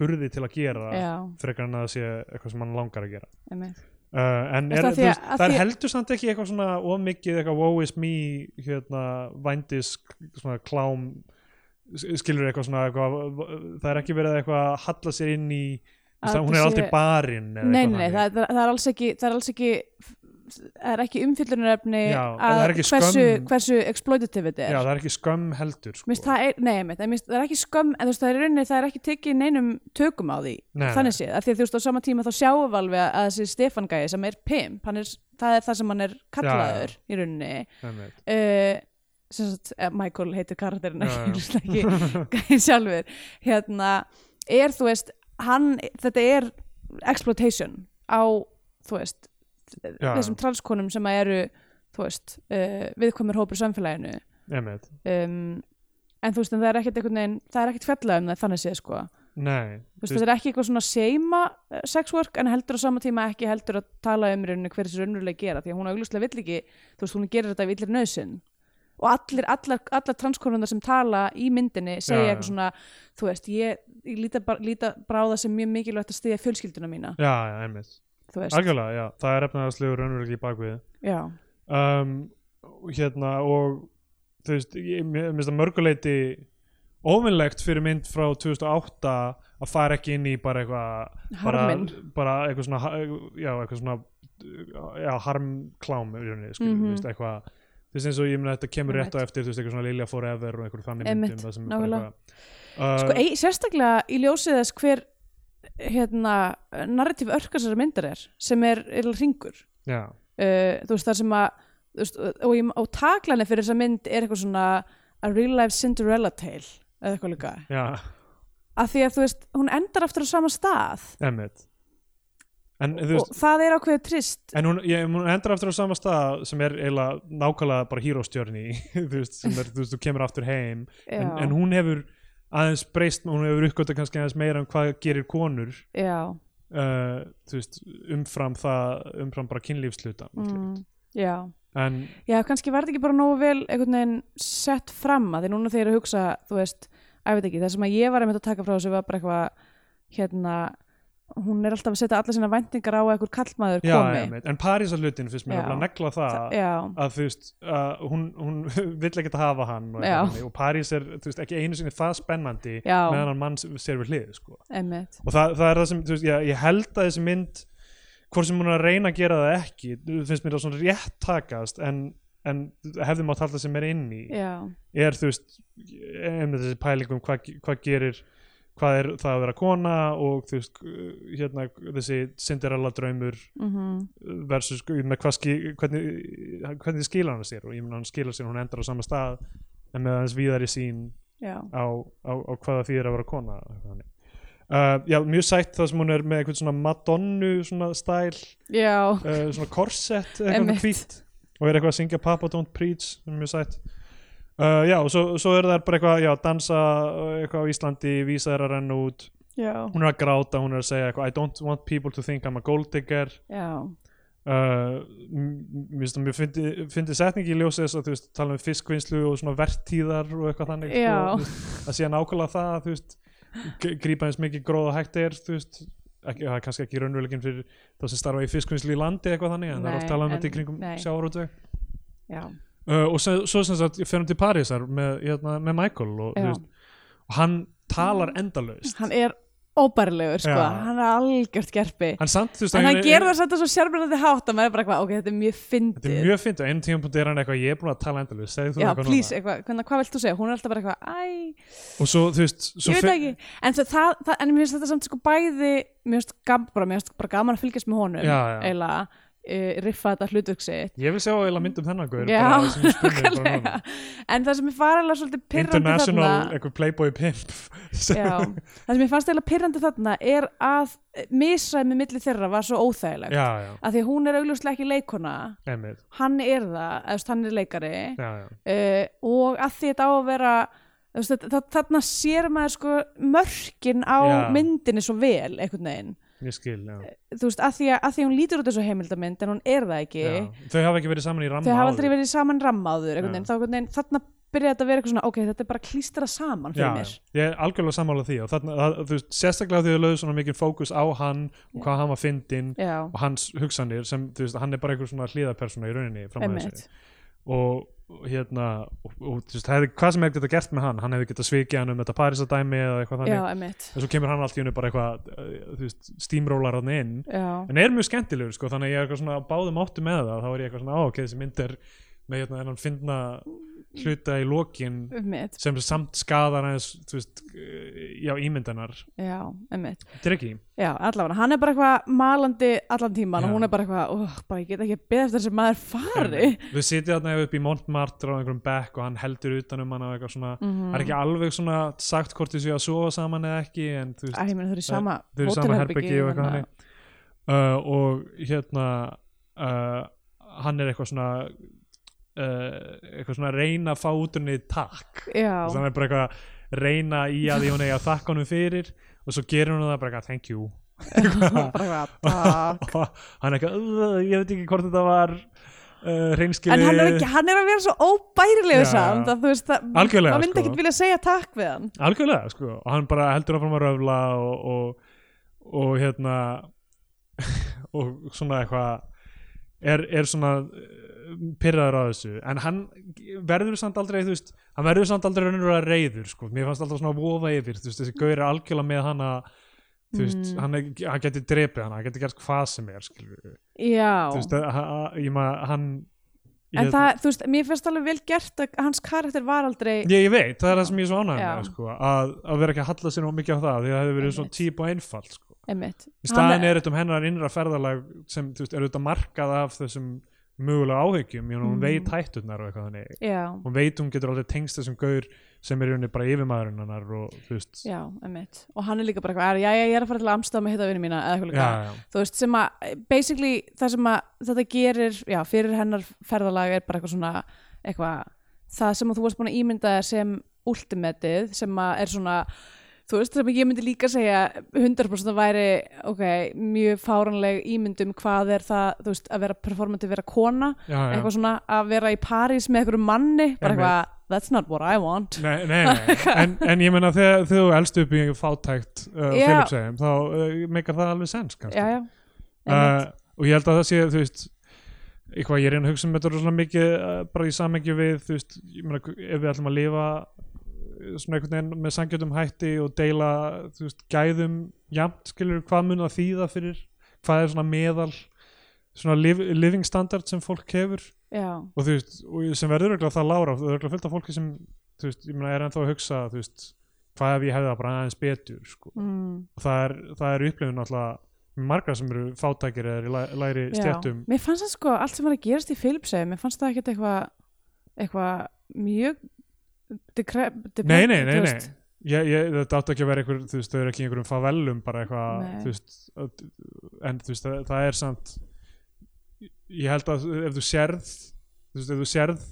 S2: burði til að gera
S1: Já,
S2: frekar en að það sé eitthvað sem hann langar að gera
S1: einmitt.
S2: uh, en
S1: Þú
S2: er,
S1: veist, af því
S2: þú
S1: að-
S2: veist,
S1: af
S2: það
S1: því
S2: er
S1: að-
S2: heldur samt ekki eitthvað svona of mikið eitthvað woe is me hérna vændis svona klám s- skilur eitthvað svona eitthvað, það er ekki verið eitthvað að halla sér inn í þú veist,
S1: Að
S2: hún er
S1: þetta
S2: aldrei
S1: sé-
S2: barinn eða
S1: Nei,
S2: eitthvað
S1: nei,
S2: þannig.
S1: það, það, það er alls ekki það er alls ekki það er ekki umfyllunarefni
S2: Já, en
S1: að
S2: það er ekki
S1: hversu,
S2: skömm.
S1: hversu exploitative þetta
S2: Já,
S1: er
S2: það er ekki skömm heldur
S1: Mér
S2: sko.
S1: finnst það er, nei, einmitt, en mér finnst- það er ekki skömm en þú veist, það er í rauninni, það er ekki tekið neinum tökum á því,
S2: Nei,
S1: þannig séð, af því að þú veist á sama tíma þá sjáum við alveg að þessi Stefán gæi sem er pimp, hann er, það er það sem hann er kallaður í rauninni
S2: nei, nei.
S1: uh, sem sagt, eh, Michael heitir karakterinn
S2: Já, já.
S1: ekki, ekki gæinn sjálfur hérna, er þú veist hann, þetta er exploitation á, þú veist
S2: Já,
S1: þessum transkonum sem að eru þú veist, uh, viðkomur hópur í samfélaginu
S2: Einmitt.
S1: um, en þú veist, en það er ekkert einhvern veginn það er ekkert fjallað um það þannig séð sko
S2: nei.
S1: þú veist, þetta er ekki eitthvað svona seima eh, sexwork en heldur á sama tíma ekki heldur að tala um í rauninni hver þessi raunverulega gera því að hún auglustlega vill ekki, þú veist, hún gerir þetta af illir nöðsinn og allir, allar, allar transkonunar sem tala í myndinni segja
S2: Já, já.
S1: eitthvað svona, þú veist, ég, ég líta, bara- líta bráða sem mjög mikilvægt að stiðja fjölskylduna mína,
S2: Já, já, einmitt
S1: þú veist
S2: Algjörlega, já, það er efnaðarslegur raunverulegi í bakvið
S1: já,
S2: um, hérna og þú veist, ég mér finnst það mörguleiti óvinnlegt fyrir mynd frá 2008 að fara ekki inn í bara eitthvað bara,
S1: Harminn.
S2: bara eitthvað svona ha- já, eitthvað svona já, harmklám í rauninni, skilur,
S1: Mhm.
S2: þú veist, eitthvað þú veist eins og ég meina þetta kemur rétt á
S1: Einmitt.
S2: eftir þú veist, eitthvað svona Lilja Forever og einhver þannig
S1: Einmitt,
S2: myndum það sem er bara
S1: nákvæmlega.
S2: eitthvað Uh,
S1: sko, ei, sérstaklega í ljósið þess hver hérna, narratíf örkasar myndar er, sem er, er ringur
S2: já,
S1: uh, þú veist þar sem að þú veist, og, og, ég- og taklani fyrir þessa mynd er eitthvað svona a real life Cinderella tale eða eitthvað líka
S2: já,
S1: af því að þú veist, hún endar aftur á sama stað
S2: emmitt en þú veist
S1: og það er ákveðið trist
S2: En hún, ég, hún endur aftur á sama stað sem er eiginlega nákvæmlega bara hýróstjörni þú veist, sem er, þú veist, þú kemur aftur heim en,
S1: Já.
S2: en hún hefur aðeins breyst, hún hefur uppgötta kannski aðeins meira um hvað gerir konur
S1: já,
S2: uh, þú veist, umfram það, umfram bara kynlífsluta
S1: mm, já
S2: en,
S1: já, kannski var þetta ekki bara nógu vel einhvern veginn sett fram að því núna þegar ég er að hugsa þú veist, að ég veit ekki, það sem að ég var einmitt að taka frá þessu var bara eitthvað hérna, hún er alltaf að setja alla sína væntingar á að einhver kallmaður
S2: já,
S1: komi
S2: einmitt. en Parísarlutin finnst mér
S1: Já.
S2: nefnilega að negla það
S1: já,
S2: að þú veist, uh, hún, hún vill ekkert hafa hann og,
S1: Já.
S2: eitthvað þannig. og París er, þú veist, ekki einu sinni það spennandi
S1: Já.
S2: meðan hann mann sér við hlið, sko
S1: emmitt
S2: og það, það er það sem, þú veist, ég, ég held að þessi mynd hvort sem hún er að reyna að gera það ekki þú finnst mér það svona rétt takast en, en hefði mátt halda sem er inn í
S1: já,
S2: er þú veist einmitt þessi pæling um hvað hva gerir hvað er það að vera kona og þú veist, hérna þessi Cinderella draumur
S1: mhm
S2: versus með hvað skil, hvernig, hvernig skila hann sér og ég mun hann skila sér, hún endar á sama stað en með hans víðari sín
S1: já,
S2: á, á, á hvaða því er að vera kona eitthvað þannig. uh, já, mjög sætt það sem hún er með eitthvað svona Madonnu svona stæl,
S1: já
S2: uh, svona korsett eitthvað svona
S1: Einmitt.
S2: hvít og er eitthvað að syngja Papa Don't Preach, sem er mjög sætt uh, já, og svo, svo er það bara eitthvað já, dansa uh, eitthvað á Íslandi vísa þær að renna út,
S1: Já,
S2: hún er að gráta hún er að segja eitthvað, I don't want people to think I'm a gold digger
S1: já,
S2: Uh, m- mér finnst það mjög fyndi- fyndi setning í ljósi þess að þú veist tala um fiskvinnslu og svona vertíðar og eitthvað þannig sko,
S1: Já.
S2: þú veist, að sé nákvæmlega það þú veist, g- grípa eins mikið gróð og hægt er þú veist, ekki, það er kannski ekki raunverulegin fyrir þá sem starfa í fiskvinnslu í landi eitthvað þannig en það er
S1: Nei,
S2: oft talað um
S1: en-
S2: þetta í kringum
S1: nei.
S2: sjávarútveg
S1: já,
S2: uh, og svo, svo sem sagt, ég fer hann til Parísar með, hérna, með Michael og, þú
S1: Já. Mm.
S2: veist, og hann talar endalaust
S1: hann er óbærilegur sko,
S2: Já.
S1: hann er algjört gerpi
S2: hann samt, þú veist,
S1: en
S2: á
S1: hann
S2: einu-
S1: gerur það samt að svo sjálfbrennandi hátt að maður er bara eitthvað, ok, þetta er mjög fyndið
S2: þetta er mjög fint, á einu tímapunkti er hann eitthvað ég er búin að tala endalaust, segðu þú
S1: já,
S2: eitthvað
S1: please, eitthvað, hvernig, hvað vilt þú segja, hún er alltaf bara eitthvað æ,
S2: núna og svo, þú veist,
S1: ég
S2: svo
S1: veit
S2: fer-
S1: það ekki en, svo, það, það, en mér finnst þetta samt sko bæði mér finnst gam, bara, mér finnst bara gaman að fylgjast með honum
S2: Já, já.
S1: eiginlega, eh, riffa þetta hlutverk sitt
S2: ég vil sjá eiginlega mynd um þennan gaur
S1: Já,
S2: bara sem ég spurði bara
S1: nákvæmlega.
S2: núna.
S1: en það sem ég fara alveg svolítið pirrandi
S2: international,
S1: þarna
S2: eitthvað playboy pimp
S1: já, það sem ég fannst eiginlega pirrandi þarna er að misræmi milli þeirra var svo óþægilegt
S2: já, já,
S1: að því að hún er augljóslega ekki leikona
S2: emið
S1: hann er það, eða þú veist, hann er leikari
S2: já, já,
S1: uh, og að því þetta á að vera þú veist, þa- þa- þarna sér maður sko mörkin á
S2: Já.
S1: myndinni svo vel einhvern veginn
S2: ég skil, já,
S1: þú veist, að því að, að því að hún lítur út þessu heimildamynd en hún er það ekki
S2: já. þau hafa ekki verið saman í ramma
S1: þau hafa
S2: áður.
S1: aldrei verið saman rammaður
S2: Já.
S1: einhvern veginn, þá einhvern veginn þarna byrja þetta að vera eitthvað svona, ok, þetta er bara klístrað saman fyrir
S2: Já,
S1: mér
S2: ég er algjörlega sammála því og þarna, það, þú veist, sérstaklega því að lögðu svona mikið fókus á hann og hvað hann var fyndinn
S1: já,
S2: og hans hugsanir sem, þú veist, hann er bara einhver svona hliðapersona í rauninni fram að
S1: einmitt
S2: þessu og og, hérna, og, og þú veist, hefði, hvað sem hefði getað gert með hann, hann hefði getað svikið hann um þetta Parísadæmi eða eitthvað
S1: já,
S2: þannig
S1: einmitt
S2: en svo kemur hann allt í hennu bara eitthvað uh, þú veist, steamroller hann inn
S1: já,
S2: en er mjög skemmtilegur sko, þannig að ég er eitthvað svona á báðum áttu með það, þá er ég eitthvað svona, á, ok, þessi mynd er með hérna, hennan finna hluta í lokin
S1: einmitt,
S2: sem samt skadar aðeins þú veist, eh, já, ímyndanar
S1: já, einmitt
S2: þetta er ekki,
S1: já, allavega, hann er bara eitthvað malandi allan tíman
S2: Já.
S1: og hún er bara eitthvað, oh, bara ég get ekki beðið eftir þessi maður fari
S2: við sitja þarna upp í Montmartre á einhverjum bekk og hann heldur utan um hann og eitthvað svona, það er ekki alveg svona sagt hvort þið séu að sofa saman eða ekki en þú
S1: Æ,
S2: veist,
S1: ég meina þau eru í sama
S2: þau eru í sama
S1: hótelherbergi, hérna.
S2: herbyggi og eitthvað
S1: þannig að-
S2: hannig uh, og hérna uh, hann er eitthvað svona uh, eitthvað svona að reyna að fá út úr henni takk
S1: Já,
S2: þannig er bara eitthvað að reyna í að því hún eigi að þakka honum fyrir og svo gerir hún það bara eitthvað thank you
S1: bara eitthvað "Ah." "Takk."
S2: og hann er eitthvað "Ugh, ég veit ekki hvort þetta var uh, reynskili
S1: En hann er, ekki, hann er að vera svo óbærilegu
S2: Já.
S1: samt að þú veist að
S2: Algjörlega,
S1: maður myndi
S2: sko.
S1: ekkert vilja segja takk við hann
S2: algjörlega sko og hann bara heldur áfram að röfla og, og, og hérna og svona eitthvað er, er svona eh, pirraður á þessu en hann verður samt aldrei þú veist, hann verður samt aldrei raunverulega reyður sko. mér fannst alltaf svona vofa yfir þú veist, þessi gaur er algjörlega með hana þú veist,
S1: Mm.
S2: hann, er- hann geti drepið hana hann geti gert hvað sem er skilur, þú
S1: Já,
S2: veist, að- að- ég maður hann
S1: en það, þú veist, mér finnst alveg vel gert að hans karakter var aldrei
S2: Ég, ég veit, það er það sem ég er svo ánægð
S1: Já.
S2: með sko, að, að vera ekki að halla sér nú mikið á það því að það hefur verið svo
S1: Einmitt.
S2: típ og einfalt sko.
S1: einmitt
S2: í staðin
S1: Hann-
S2: er þetta um hennar innra ferðalag sem þú veist, er auðvitað markað af þessum mögulega áhyggjum, ég,
S1: Mm.
S2: hún veit hætturnar og eitthvað þannig,
S1: Já,
S2: hún veit hún getur aldrei tengst þessum gaur sem er í rauninni bara yfirmaðurinn hennar og þú veist
S1: já, einmitt Og hann er líka bara eitthvað, já, já, ég er að fara til að amstað með hitta vinnu mína eða eitthvað
S2: já,
S1: líka Þú veist, sem að, basically, það sem að þetta gerir, já, fyrir hennar ferðalag er bara eitthvað svona, eitthvað, það sem að þú varst búin að ímynda þér sem ultimatið, sem að er svona, þú veist, sem að ég myndi líka segja 100% að væri, ok, mjög fáranleg ímyndum hvað er það, þú veist, að vera performantið, vera kona,
S2: já, já, já.
S1: eitthvað svona, að vera í París með einhverjum manni, bara
S2: Einmitt.
S1: eitthvað, that's not what I want.
S2: Nei, nei, nei. En, en ég meina þegar þegar þú elst upp í einhver fátækt uh,
S1: Já.
S2: Filipsheim þá uh, meikar það alveg sens kannski
S1: Já, já,
S2: uh, og ég held að það sé þú veist eitthvað ég er einn að hugsa um þetta rosalega mikið uh, bara í samhengi við þú veist ég meina ef við ætlum að lifa eh, svona einhvern veginn með sangjöndum hætti og deila þú veist gæðum jafnt skilur hvað mun það þýða fyrir hvað er svona meðal svona liv, living standard sem fólk hefur
S1: já,
S2: og þú veist og sem verður örugglega það lára það er örugglega fullt af fólki sem þú veist ég meina er ennþá að hugsa þú veist hvað ef ég hefði það bara aðeins betur sko
S1: mm.
S2: og það er, það er upplifun náttúrulega margar sem eru fátækir eða í læ- lægri
S1: Já.
S2: stjættum
S1: mér fannst það sko allt sem var að gerast í Filipsegi, mér fannst það ekkert eitthvað eitthvað mjög dekrep, dekrep,
S2: Nei, nei, nei, nei ég, ég, þetta átti ekki að vera einhver, þú veist, þau eru ekki í einhverjum favellum bara eitthvað,
S1: Nei.
S2: þú veist að, en þú veist, það, það er samt ég held að ef þú sérð þú veist, ef þú sérð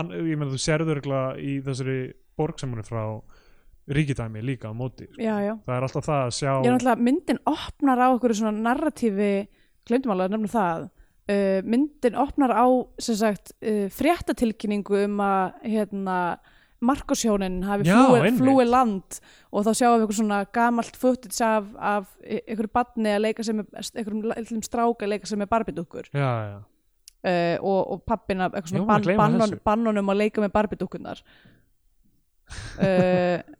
S2: an, ég meina þú sérð örgulega í þessari borg sem hún er frá ríkidæmi líka á móti sko.
S1: já, já,
S2: það er alltaf það að sjá
S1: ég er náttúrulega myndin opnar á okkur svona narratífi glemdum alveg að nefna það uh, myndin opnar á sem sagt uh, fréttatilkynningu um að hérna Markosjónin hafi
S2: Já,
S1: flúið
S2: einmitt.
S1: flúi land og þá sjáum við eitthvað svona gamalt footage af, af einhverju badni að leika sem er, einhverjum, einhverjum stráka að leika sem er barbidukkur
S2: já, já,
S1: uh, og, og pappina eitthvað
S2: Ég
S1: svona
S2: var búin að
S1: ban,
S2: gleyma
S1: bannon,
S2: þessu.
S1: bannonum að leika með barbidúkunnar uh,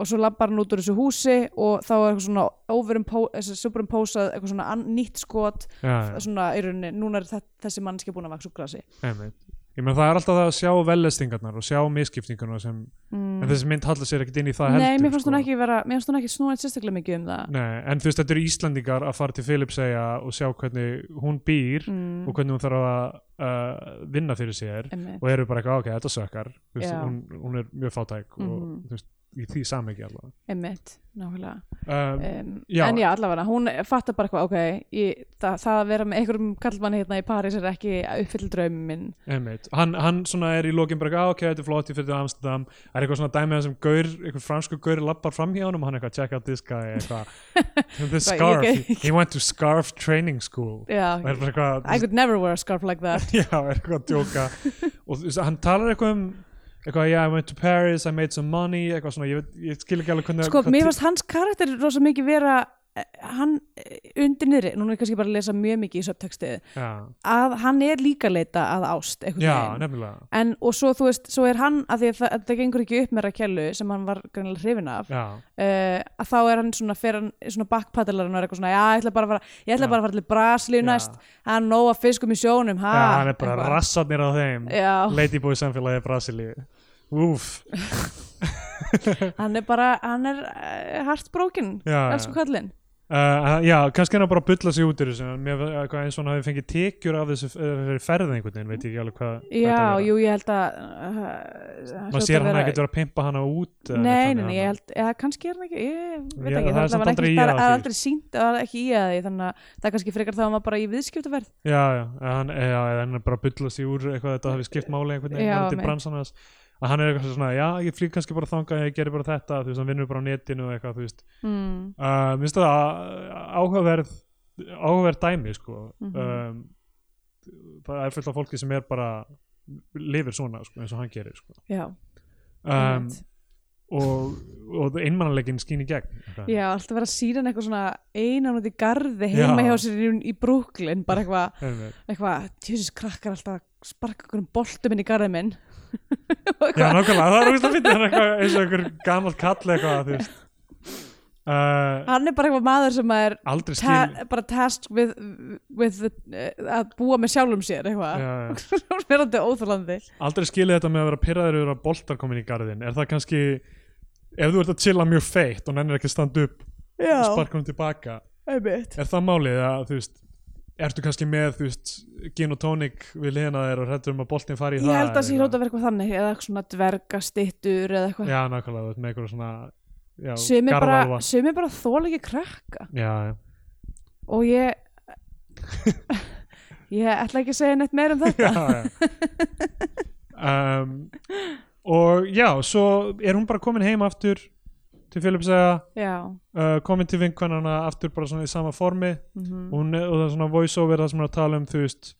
S1: og svo labbar hann út úr þessu húsi og þá er eitthvað svona overimpo- þessi superimposað eitthvað svona an, nýtt skot
S2: já, já,
S1: svona í rauninni, núna er þe- þessi mannski búin að vaksa úr grasi
S2: einmitt. ég meina það er alltaf það að sjá vellestingarnar og sjá miskiptinguna sem, en þessi mynd hallar sér ekkit inn í það heldur
S1: Mm. Nei, mér fannst
S2: sko.
S1: hún ekki vera, mér fannst hún ekki snúið sérstaklega mikið um það
S2: Nei, en þú veist, þetta eru Íslandingar að fara til Filipseyja og sjá hvernig hún býr
S1: mm,
S2: og hvernig hún þarf að uh, vinna fyrir sér
S1: einmitt.
S2: og eru bara eitthvað, ok, þetta sökkar Þú veist,
S1: Já.
S2: hún, hún er mjög fátæk og
S1: Mhm.
S2: þú veist, í því samhengi allavega
S1: einmitt, nákvæmlega
S2: um,
S1: um,
S2: Já.
S1: en já, allavega, hún fattar bara eitthvað ok, ég, það, það að vera með einhverjum kallmann hérna í París er ekki að uppfylla draumum minn
S2: Einmitt. Hann, hann svona er í lokin bara eitthvað, "Ah, ok, þetta er flott, ég fyrir til Amsterdam Það er eitthvað svona dæmið þessum gaur, eitthvað fransku gaur lappar fram hjá honum og hann eitthvað, check out this guy eitthvað, this
S1: Bara, ég
S2: scarf
S1: get-
S2: he went to scarf training school
S1: já,
S2: og er bara eitthvað,
S1: I could never wear a scarf like that
S2: já, er eitthvað að djóka og þú veist, hann talar eitthvað um eitthvað, yeah, I went to Paris, I made some money eitthvað svona, ég, veit, ég skil ekki alveg hvernig
S1: sko,
S2: hvað
S1: mér
S2: tí-
S1: fannst hans karakter rosa mikið vera eh, hann eh, undir niðri, núna er ég kannski bara að lesa mjög mikið í subtextið,
S2: já,
S1: að hann er líka að leita að ást, einhvern
S2: já,
S1: veginn
S2: nefnilega
S1: en, og svo þú veist, svo er hann að því að það, það gengur ekki upp með Rakellu sem hann var greinlega hrifin af
S2: já,
S1: uh, að þá er hann svona, fer hann svona backpadalar og er eitthvað svona, já, ég ætla bara að fara ég ætla
S2: Já.
S1: bara að fara til Brasilíu
S2: Já.
S1: næst hann nóg að fiskum í sjónum, ha
S2: já, hann er bara
S1: Ah, Eitthvað.
S2: rassarnir á þeim
S1: já,
S2: ladyboy samfélagi Brasilíu úf,
S1: hann er bara, hann er uh, hartbrókin,
S2: já, já
S1: elsku kallinn
S2: Uh, já, kannski hann á bara að bulla sig út úr þessu en mér var- eitthvað eins og hann hafi fengið tekjur af þessu uh, ferðin einhvern veginn, veit ég ekki alveg hvað
S1: já,
S2: hvað þetta er.
S1: jú, ég held að uh, hann
S2: maður
S1: hljóta
S2: sér
S1: að
S2: hann
S1: vera-
S2: ekkert vera að pimpa hana út eða
S1: Nei,
S2: neitt
S1: nei,
S2: þannig,
S1: nei, ég held, eða kannski er hann ekki, ég veit
S2: Ég-
S1: ekki,
S2: það er
S1: það
S2: samt
S1: var
S2: aldrei
S1: ekki,
S2: í
S1: það
S2: að
S1: er
S2: því.
S1: aldrei sínt, það var ekki í að því, þannig að það er kannski frekar þá að maður bara í viðskiptaverð.
S2: já, já, eða hann, já, eða hann er bara að bulla sig úr eitthvað þetta hafi skipt máli einhvern veginn
S1: Já,
S2: varðandi
S1: einmitt.
S2: bransann hans. að hann er eitthvað svona, já, ég flýg kannski bara þangað ég gerir bara þetta, þú veist, hann vinnur bara á netinu og eitthvað, þú veist,
S1: Mm.
S2: uh, minnst það að- áhugaverð áhugaverð dæmi, sko
S1: Mhm.
S2: um, það er fullt af fólki sem er bara lifir svona, sko, eins og hann gerir, sko
S1: Já,
S2: um,
S1: einmitt.
S2: og, og einmannaleggin skín í gegn eitthvað.
S1: já, alltaf vera að sína hann eitthvað svona einan út í garði heima
S2: Já.
S1: hjá sér í, í Brooklyn, bara eitthvað,
S2: Einmitt.
S1: eitthvað, tjóðsins krakkar alltaf að sparka einhverjum boltum inn í garðið minn. Og
S2: já,
S1: eitthvað,
S2: nákvæmlega, það er úrst að finna eitthvað eins og einhver gamall kall eitthvað þú veist. uh,
S1: hann er bara eitthvað maður sem er
S2: aldrei skil
S1: ta bara tasked with, with the, eh, að búa með sjálfum sér, eitthvað.
S2: já, já.
S1: Verandi óþólandi.
S2: aldrei skilið þetta með að vera pyrraður yfir að boltar komin í garðin er það kannski ef þú ert að chilla mjög feitt og nennir ekki að standa upp
S1: Já,
S2: og sparka hún tilbaka
S1: einmitt.
S2: er það málið að þú veist ertu kannski með þú veist gin og tónik við liðina þér og hrættur um að boltin fari í
S1: Ég
S2: það
S1: held að það sé
S2: eitthvað.
S1: hljóta að vera eitthvað þannig eða eitthvað svona dvergastittur eða eitthvað
S2: já nákvæmlega þú veist, með eitthvað svona já,
S1: sem er bara,
S2: garðalva.
S1: sumir bara þóla ekki krakka
S2: já, já
S1: og ég ég ætla ekki að segja neitt meira um þetta
S2: já, já. um, og já, svo er hún bara komin heim aftur til Filipsæða
S1: Já,
S2: uh, komin til vinkvennana aftur bara svona í sama formi
S1: mm
S2: hún, og það er svona voiceover það sem hún er að tala um þú veist,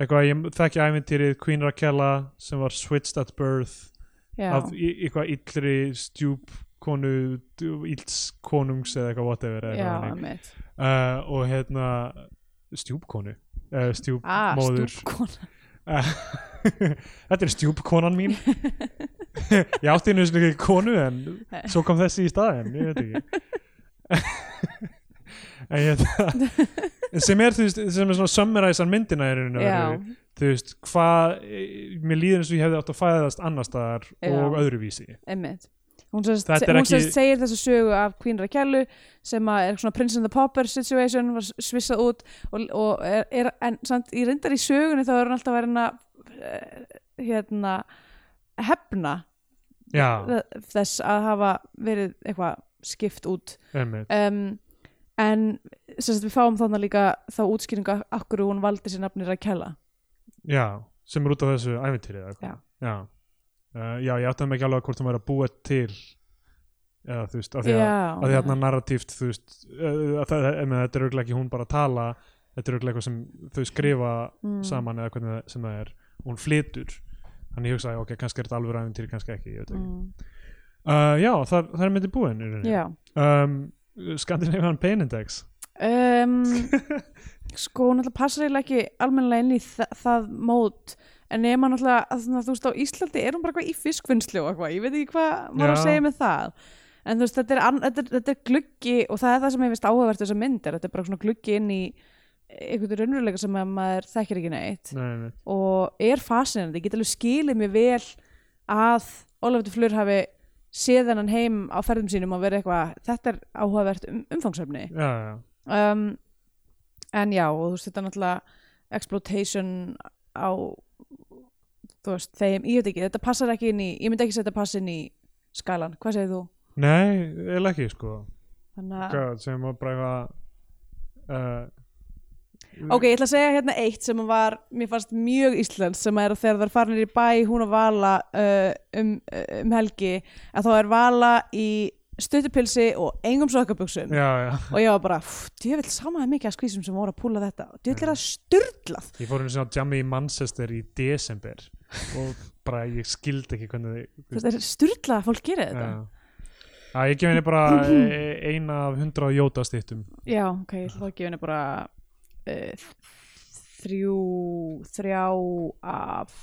S2: eitthvað, ég þekki ævintýrið Queen Rakella sem var switched at birth
S1: já,
S2: af í- eitthvað illri stjúp konu, ills konungs eða eitthvað whatever eða
S1: já,
S2: eitthvað þannig.
S1: mitt
S2: uh, og hérna stjúpkonu uh,
S1: Ah,
S2: stjúpmóður
S1: stúpkona
S2: Eh, Þetta er stjúpkonan mín Ég átti einu sinni ekki konu en svo kom þessi í staðinn ég veit ekki En ég þetta sem er, þú veist, sem er svona summarizar myndina í rauninu
S1: Já,
S2: þú veist, hvað eh, mér líður eins og ég hefði átt að fæðast annar staðar
S1: Já.
S2: og öðruvísi
S1: einmitt Hún sérst,
S2: Þetta er
S1: hún
S2: ekki-
S1: sérst segir þessa sögu af Queen Rakellu sem að er svona Prince and the Popper situation var svissað út og, og er, er, en samt í reyndar í sögunni þá er hún alltaf verið að eh, hérna hefna
S2: Já,
S1: þe- þess að hafa verið eitthvað skipt út
S2: einmitt
S1: um, en sem sagt, við fáum þannig líka þá útskýringa okkur hún valdi sér nafnir að kella
S2: Já, sem er út af þessu ævintýri
S1: Já.
S2: já. Uh, já, ég átti að mig ekki alveg hvort hún væri að búa til eða þú veist, af því að
S1: Já,
S2: að því þarna narratíft þú veist, uh, að það, að, að þetta er auðvitað ekki hún bara að tala þetta er auðvitað eitthvað sem þau skrifa
S1: Mm.
S2: saman eða hvernig það, sem það er hún flytur, þannig ég hugsaði ok, kannski er þetta alveg ræðin til, kannski ekki, ég veit ekki
S1: mm,
S2: uh, Já, það, það er myndi búin í rauninni.
S1: já,
S2: um, Scandinavian Pain Index
S1: um, sko, hún náttúrulega passar eiginlega ekki almennilega inn í þa það mót en nema náttúrulega, að, svona, þú veist, á Íslandi er hún bara eitthvað í fiskvinnslu og eitthvað ég veit ekki hvað maður á að
S2: Já.
S1: segja með það en þú veist, þetta er, ann- þetta er, þetta er gluggi og það er það sem ég veist áhugavert þessa mynd er, þetta er bara svona gluggi inn í einhvern raunveruleika sem að maður þekkir ekki neitt
S2: nei, nei.
S1: og er fascinandi, ég get alveg skilið mér vel að Ólafur Flur hafi séð hennan heim á ferðum sínum og verið eitthvað, þetta er áhugavert um, umfangsöfni
S2: Já, já,
S1: um, en já, og þú veist þetta er náttúrulega exploitation á þú veist, þeim, ég veit ekki, þetta passar ekki inn í ég myndi ekki setja pass inn í skalan hvað segir þú?
S2: nei, eða ekki sko
S1: Þannig að,
S2: Hvað, sem var bara eitthvað uh,
S1: ok, ég ætla að segja hérna eitt sem var, mér fannst mjög íslensk sem er að þegar það er farinir í bæ hún og Vala uh, um, um helgi að þá er Vala í stuttupilsi og engum sokkabuxum
S2: Já, já,
S1: og ég var bara, djövill samaði mikið að skvísum sem voru að púla þetta, djövill er það styrlað
S2: ég fór einu sinni á jammi í Manchester í desember og bara ég skildi ekki hvernig þið
S1: þetta er styrlað að fólk gerir þetta
S2: Já, Já, ég gef henni bara eh, eina af hundra jóta stýttum
S1: Já, ok, ég ætla þá að gefa henni bara uh, þrjú, þrjá af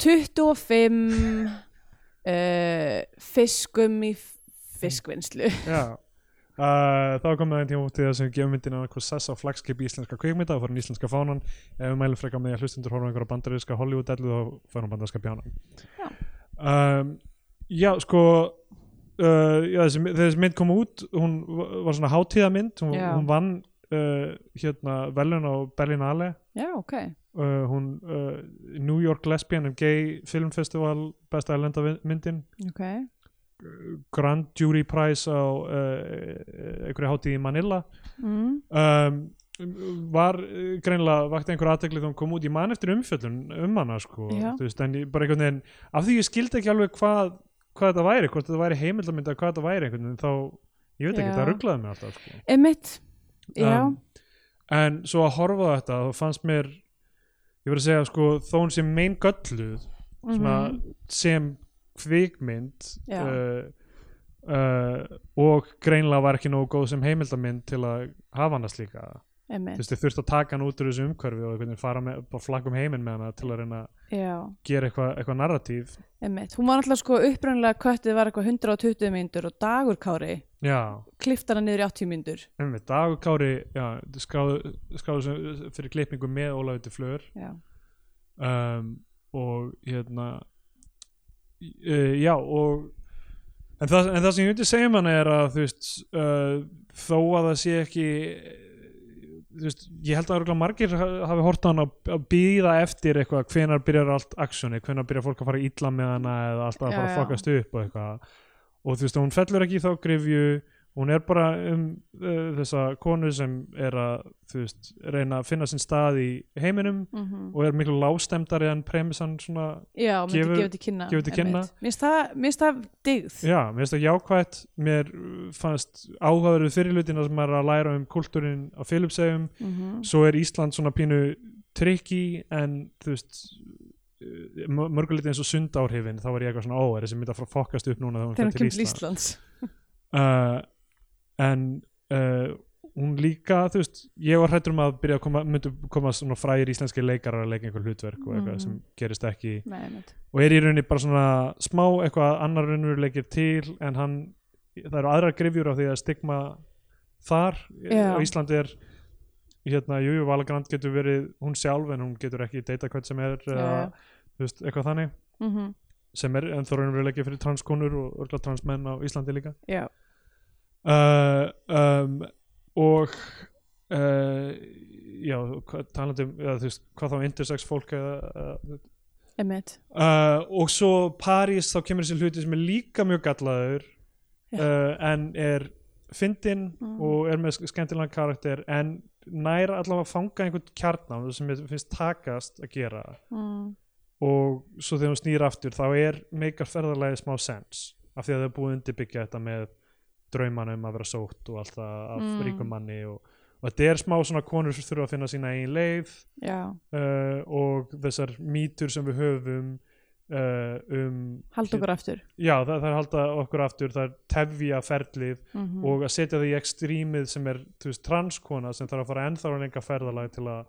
S1: 25 uh, fiskum í fiskvinnslu.
S2: Já Uh, þá kom það einn tíma út í það sem við gefum myndina hvað sess á flagskip í íslenska kvikmynda og fórum í íslenska fánan ef við mælum frekar með því að hlustundur horfum einhverja bandaríska Hollywood-ellu þá fórum bandaríska bjánan
S1: Já.
S2: um, Já, sko uh, já, þessi, þegar þessi mynd kom út hún va- var svona hátíðamynd hún,
S1: Já.
S2: hún vann uh, hérna velun á Berlinale
S1: Já, ok.
S2: uh, hún uh, New York Lesbian and Gay Film Festival besta erlenda vi- myndin
S1: Ok,
S2: Grand Jury Prize á uh, einhverju hátíð í Manila
S1: mm.
S2: um, var uh, greinilega vakti einhver aðtekli þegar hún kom út ég man eftir umfjöllun um hana sko
S1: Já.
S2: þú veist, en ég bara einhvern veginn af því ég skildi ekki alveg hvað, hvað þetta væri hvort þetta væri heimildamynda hvað þetta væri einhvern veginn þá ég veit ekki,
S1: Já.
S2: það rugglaði mig alltaf sko
S1: emitt, já,
S2: um, en svo að horfa á þetta þá fannst mér ég verið að segja sko þó hún sé mein gölluð
S1: Mhm.
S2: svona, sem kvikmynd
S1: Já.
S2: uh, uh, og greinlega var ekki nógu góð sem heimildamind til að hafa hana slíka þú
S1: emitt,
S2: veist þið þurft að taka hann út úr þessu umhverfi og einhvern veginn fara með, bara flagga um heiminn með hana til að reyna að
S1: já,
S2: gera eitthvað eitthva narratív
S1: emitt. Hún var náttúrulega sko upprænlega köttið var eitthvað 120 myndur og dagurkári
S2: já,
S1: kliftar hann niður í 80 myndur.
S2: einmitt, Dagur Kári já, skráðu, skráðu sem- fyrir klippingu með Ólafur til Flör
S1: Já,
S2: um, og hérna uh, já og en það, en það sem ég myndi segja um hana er að þú veist uh, þó að það sé ekki þú veist, ég held að örugglega margir ha- hafi hort á hana að býða eftir eitthvað hvenar byrjar allt aksjóni, hvenar byrjar fólk að fara illa með hana eða alltaf að
S1: Já,
S2: fara að
S1: já.
S2: fokast upp og eitthvað og þú veist, hún fellur ekki í þá grifju hún er bara um uh, þessa konu sem er að þú veist, reyna að finna sinn stað í heiminum
S1: mm
S2: og er miklu lágstemdari en premissan svona,
S1: já myndi
S2: Gefur-
S1: gefa til kynna.
S2: gefur til kynna.
S1: einmitt. Mér finnst það- mér finnst það digð.
S2: já, mér finnst það jákvætt mér uh, fannst áhugaverðu fyrirlutina sem maður er að læra um kultúrin á Filipsegum,
S1: Mhm.
S2: svo er Ísland svona pínu trikki en þú veist uh, mör- mörguleiti eins og sundáhrifin þá var ég eitthvað svona, ó, er þessi mynd að fara að fokast upp núna
S1: þegar
S2: þegar
S1: hann kemur til Íslands
S2: uh, en uh, hún líka, þú veist ég var hrættur um að byrja að koma, myndu koma svona frægir íslenski leikarar að leika einhver hlutverk og eitthvað
S1: Mhm.
S2: sem gerist ekki
S1: Nei, einmitt.
S2: og er í rauninni bara svona smá eitthvað annar raunveruleikir til en hann, það eru aðrar grifjur á því að stigma þar
S1: Já.
S2: á Íslandi er hérna, Jújú Valagrand getur verið hún sjálf en hún getur ekki deyta hvern sem er eða,
S1: Já.
S2: þú veist, eitthvað þannig
S1: Mhm.
S2: sem er ennþá raunveruleiki fyrir transkonur og örgla transmenn á Íslandi líka
S1: Já.
S2: uh, um, og uh, já, hvað- talandi um eða, þú veist, hvað þá intersex fólk eða, eða
S1: Einmitt.
S2: uh, og svo París þá kemur þessi hluti sem er líka mjög gallaður
S1: Já.
S2: uh, en er fyndinn
S1: Mm.
S2: og er með sk- skemmtilegan karakter en nær allavega að fanga einhvern kjarnan sem mér finnst takast að gera
S1: Mm.
S2: og svo þegar hún snýr aftur þá er meikar ferðarlagi smá sens af því að það er búið að undirbyggja þetta með draumanum að vera sótt og allt það af
S1: Mm.
S2: ríkum manni og, og þetta er smá svona konur sem þurfa að finna sína eigin leið
S1: Já.
S2: uh, og þessar mýtur sem við höfum uh, um
S1: Hald okkur aftur
S2: já, það, það er halda okkur aftur það er tefja ferlið
S1: mm
S2: og að setja það í ekstrímið sem er þú veist, transkona sem þarf að fara ennþá en enga ferðalag til að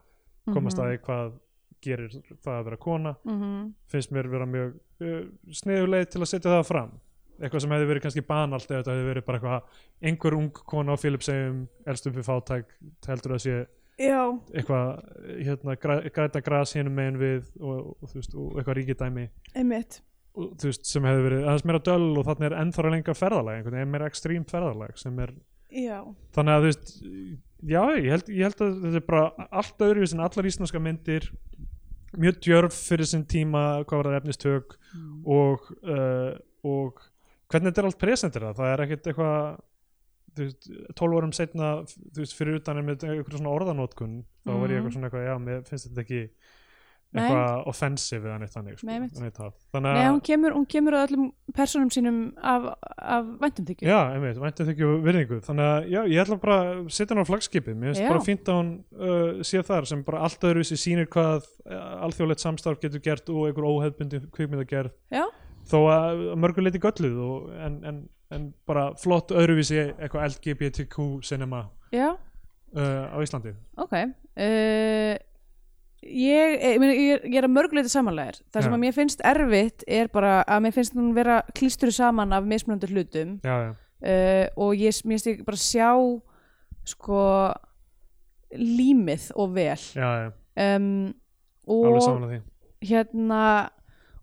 S1: Mhm.
S2: komast að því hvað gerir það að vera kona
S1: Mhm.
S2: finnst mér vera mjög uh, sniðuleið til að setja það fram eitthvað sem hefði verið kannski banalt eða þetta hefði verið bara eitthvað einhver ung kona á Filipsheim elst upp við fátæk heldur að sé
S1: Já,
S2: eitthvað hérna, græ, græta gras hinum megin við og, og, þú veist, og eitthvað ríkidæmi
S1: einmitt
S2: og, þú veist, sem hefði verið aðeins meira döl og þannig er ennþára lengra ferðalag einhvern veginn meira ekstrím ferðalag sem er
S1: Já,
S2: þannig að þú veist já, ég held, ég held að þetta er bara allt öðruvís en allar íslenska myndir mjög djörf fyrir sinn tíma hvað var það efnistök og, uh, og hvernig þetta er allt presentir það, það er ekkert eitthvað þú veist, 12 árum setna þú veist, fyrir utan er með eitthvað svona orðanótkun þá var ég
S1: Mhm.
S2: eitthvað svona eitthvað, já, mér finnst þetta ekki
S1: Nei.
S2: eitthvað offensive eða neitt þannig, sko,
S1: Nei, einmitt.
S2: neitt það. þannig
S1: Nei,
S2: að,
S1: hún kemur, hún kemur að öllum personum sínum af, af væntumþykju
S2: Já, einmitt, væntum þykju virðingu þannig að já, ég ætla bara að setja hann á flagskipi mér
S1: Já.
S2: finnst bara fínt að hún uh, sé þar sem bara allt öðruvísi sýnir hvað uh, alþjóðlegt samstarf getur gert og einhver óhefbundin kvikmyndagerð
S1: Já.
S2: þó að mörguleiti gölluð og, en, en, en bara flott öðruvísi eitthvað LGBTQ cinema
S1: Já,
S2: uh, á Íslandi
S1: ok uh, ég, ég, meina, ég, ég er að mörguleiti samanlegar það sem
S2: Já.
S1: að mér finnst erfitt er bara að mér finnst hún vera klísturu saman af mismunandi hlutum
S2: Já, já,
S1: uh, og ég, mér finnst ég bara sjá sko límið og vel
S2: já, já,
S1: um,
S2: alveg
S1: og
S2: saman að því
S1: hérna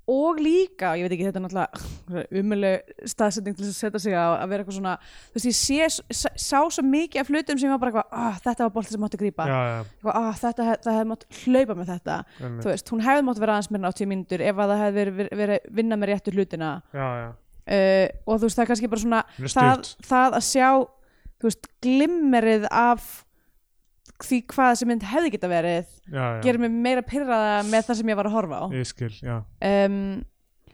S1: og líka, ég veit ekki, þetta er náttúrulega umuleg staðsetning til þess að setja sig á að vera eitthvað svona, þú veist, ég sé, sá, sá svo mikið af hlutum sem var bara eitthvað, ah, þetta var bolti sem mátti grípa
S2: Já, já,
S1: eitthvað, ah, þetta, hef- það hefði mátt hlaupa með þetta
S2: einmitt.
S1: þú veist, hún hefði mátt vera aðeins meira en 80 mínútur ef að það hefði verið, verið, verið vinna með réttu hlutina
S2: já, já,
S1: uh, og þú veist, það er kannski bara svona
S2: Mjög
S1: það,
S2: stutt.
S1: það að sjá, þú veist, glimmerið af því hvað þessi mynd hefði geta verið
S2: já, já.
S1: gerir mig meira pyrraða með það sem ég var að horfa á
S2: Ég skil, já,
S1: um,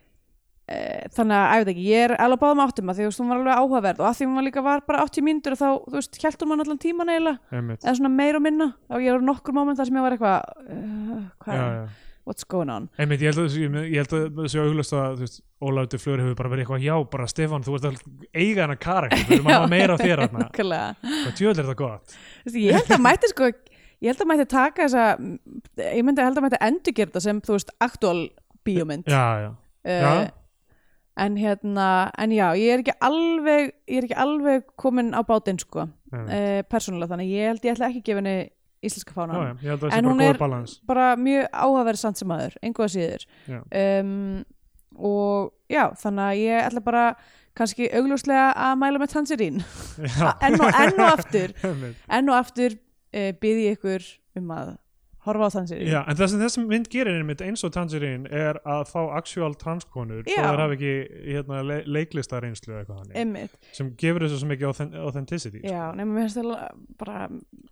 S1: uh, þannig að, ég veit ekki, ég er alveg báðum áttum að því, þú veist, hún var alveg áhugaverð og að því hún var líka var bara 80 mínútur og þá, þú veist, hjælt hún mann allan tíman eiginlega
S2: einmitt
S1: eða svona meir og minna og ég var nokkur moment þar sem ég var eitthvað uh,
S2: Já,
S1: hvað,
S2: já
S1: what's going on
S2: Einmitt, ég held að, ég, ég held að það sé auglust að þú veist, Ólafur til Flöri hefur bara verið eitthvað já, bara Stefán, þú ert að eiga hennar karakter við erum að hafa meira á þér hérna
S1: Nákvæmlega.
S2: hvað djöðl er það gott
S1: Þú veist, ég held að mætti sko ég held að mætti taka þessa ég myndi ég held að mætti endurgera þetta sem þú veist aktúal bíómynd
S2: já, já, já,
S1: Eh, en hérna en já, ég er ekki alveg ég er ekki alveg komin á bátinn sko
S2: einmitt.
S1: uh, persónulega þannig, ég held ég ætla ekki að gefa henni íslenska
S2: já,
S1: fána
S2: já, ég held að það
S1: en
S2: sé bara
S1: hún
S2: góður
S1: er-
S2: balans
S1: bara mjög áhugaverð samt sem aður, einhvað síður
S2: Já.
S1: um, og já, þannig að ég ætla bara kannski augljóslega að mæla með tansirín
S2: já,
S1: enn, og, enn og aftur
S2: einmitt.
S1: enn og aftur uh, byði ég ykkur um að horfa á tansirín
S2: já, en það sem þessum mynd gerir einmitt eins og Tangerine er að fá actual transkonur
S1: Já.
S2: og það er ekki hérna, le leiklista reynslu eitthvað þannig
S1: einmitt,
S2: sem gefur þessu svo mikið authen- authenticity sko.
S1: já, nema mér finnst það bara,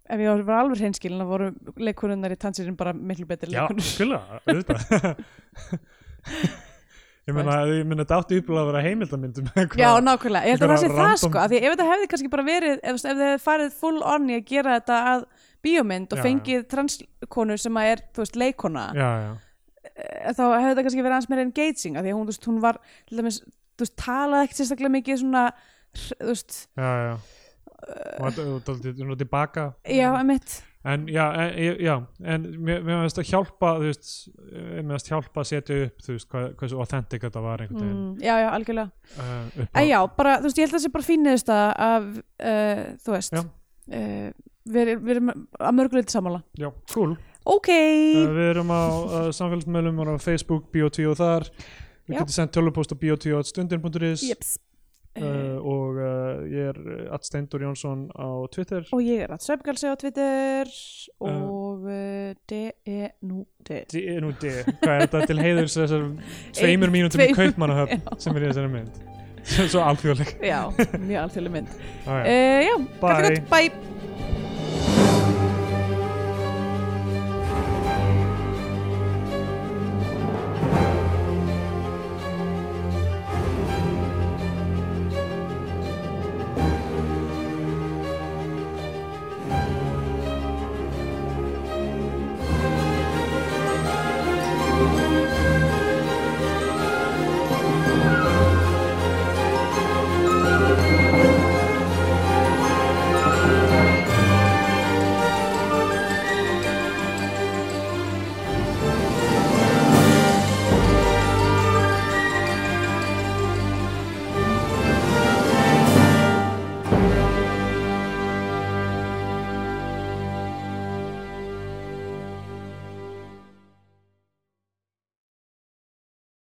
S1: ef ég var alveg hreinskilin þá voru leikkonunnar í tansirín bara miklu betri
S2: Já,
S1: leikonur
S2: skilja, auðvitað Ég meina, ég meina þetta átti upplega að vera um heimildamyndum
S1: Já, nákvæmlega, ég held að það
S2: einhverja
S1: sé það
S2: Sko, random-
S1: sko af því ef þetta hefði kannski bara verið ef, ef þið hefði farið full on í að gera þetta að bíómynd og
S2: Já,
S1: fengið transkonu sem að er, þú veist, leikona
S2: Já, já,
S1: eh, þá hefði þetta kannski verið aðeins meira engaging af því að hún, þú veist, hún var til dæmis, þú veist, talaði ekkert sérstaklega mikið svona, hr- þú veist
S2: já, já og þetta er svona tilbaka
S1: já, emitt,
S2: en já, en, ég- já, en mér mér finnst að hjálpa þú veist, mér finnst hjálpa að setja upp þú veist, hvað, hversu authentic þetta var einhvern veginn
S1: mm, já, já, algjörlega
S2: uh, upp á
S1: en já, bara, þú veist, ég held að það sé bara fín niðurstaða af, uh, þú veist
S2: Já.
S1: uh, við, við erum að mörguleiti sammála
S2: já, cool,
S1: ok,
S2: uh, við erum á uh, samfélagsmeðlum og á Facebook, Biotví og þar við
S1: Já.
S2: getum sendt tölvupóst á biotví.stundin.is
S1: jeps
S2: uh, og uh, ég er at Steindur Jónsson á Twitter
S1: Og ég er að Svepgalsi á Twitter og uh, D-E-Nú-D.
S2: D- eh, nú D, hvað er þetta til heiðurs þessar tveimur mínútum í
S1: tveimur-
S2: kaupmannahöfn
S1: Já.
S2: sem er í þessari mynd Svo- svo alþjóðleg
S1: Já, mjög alþjóðlega mynd.
S2: ah,
S1: Uh, já,
S2: Bye.
S1: gæti gott, bye.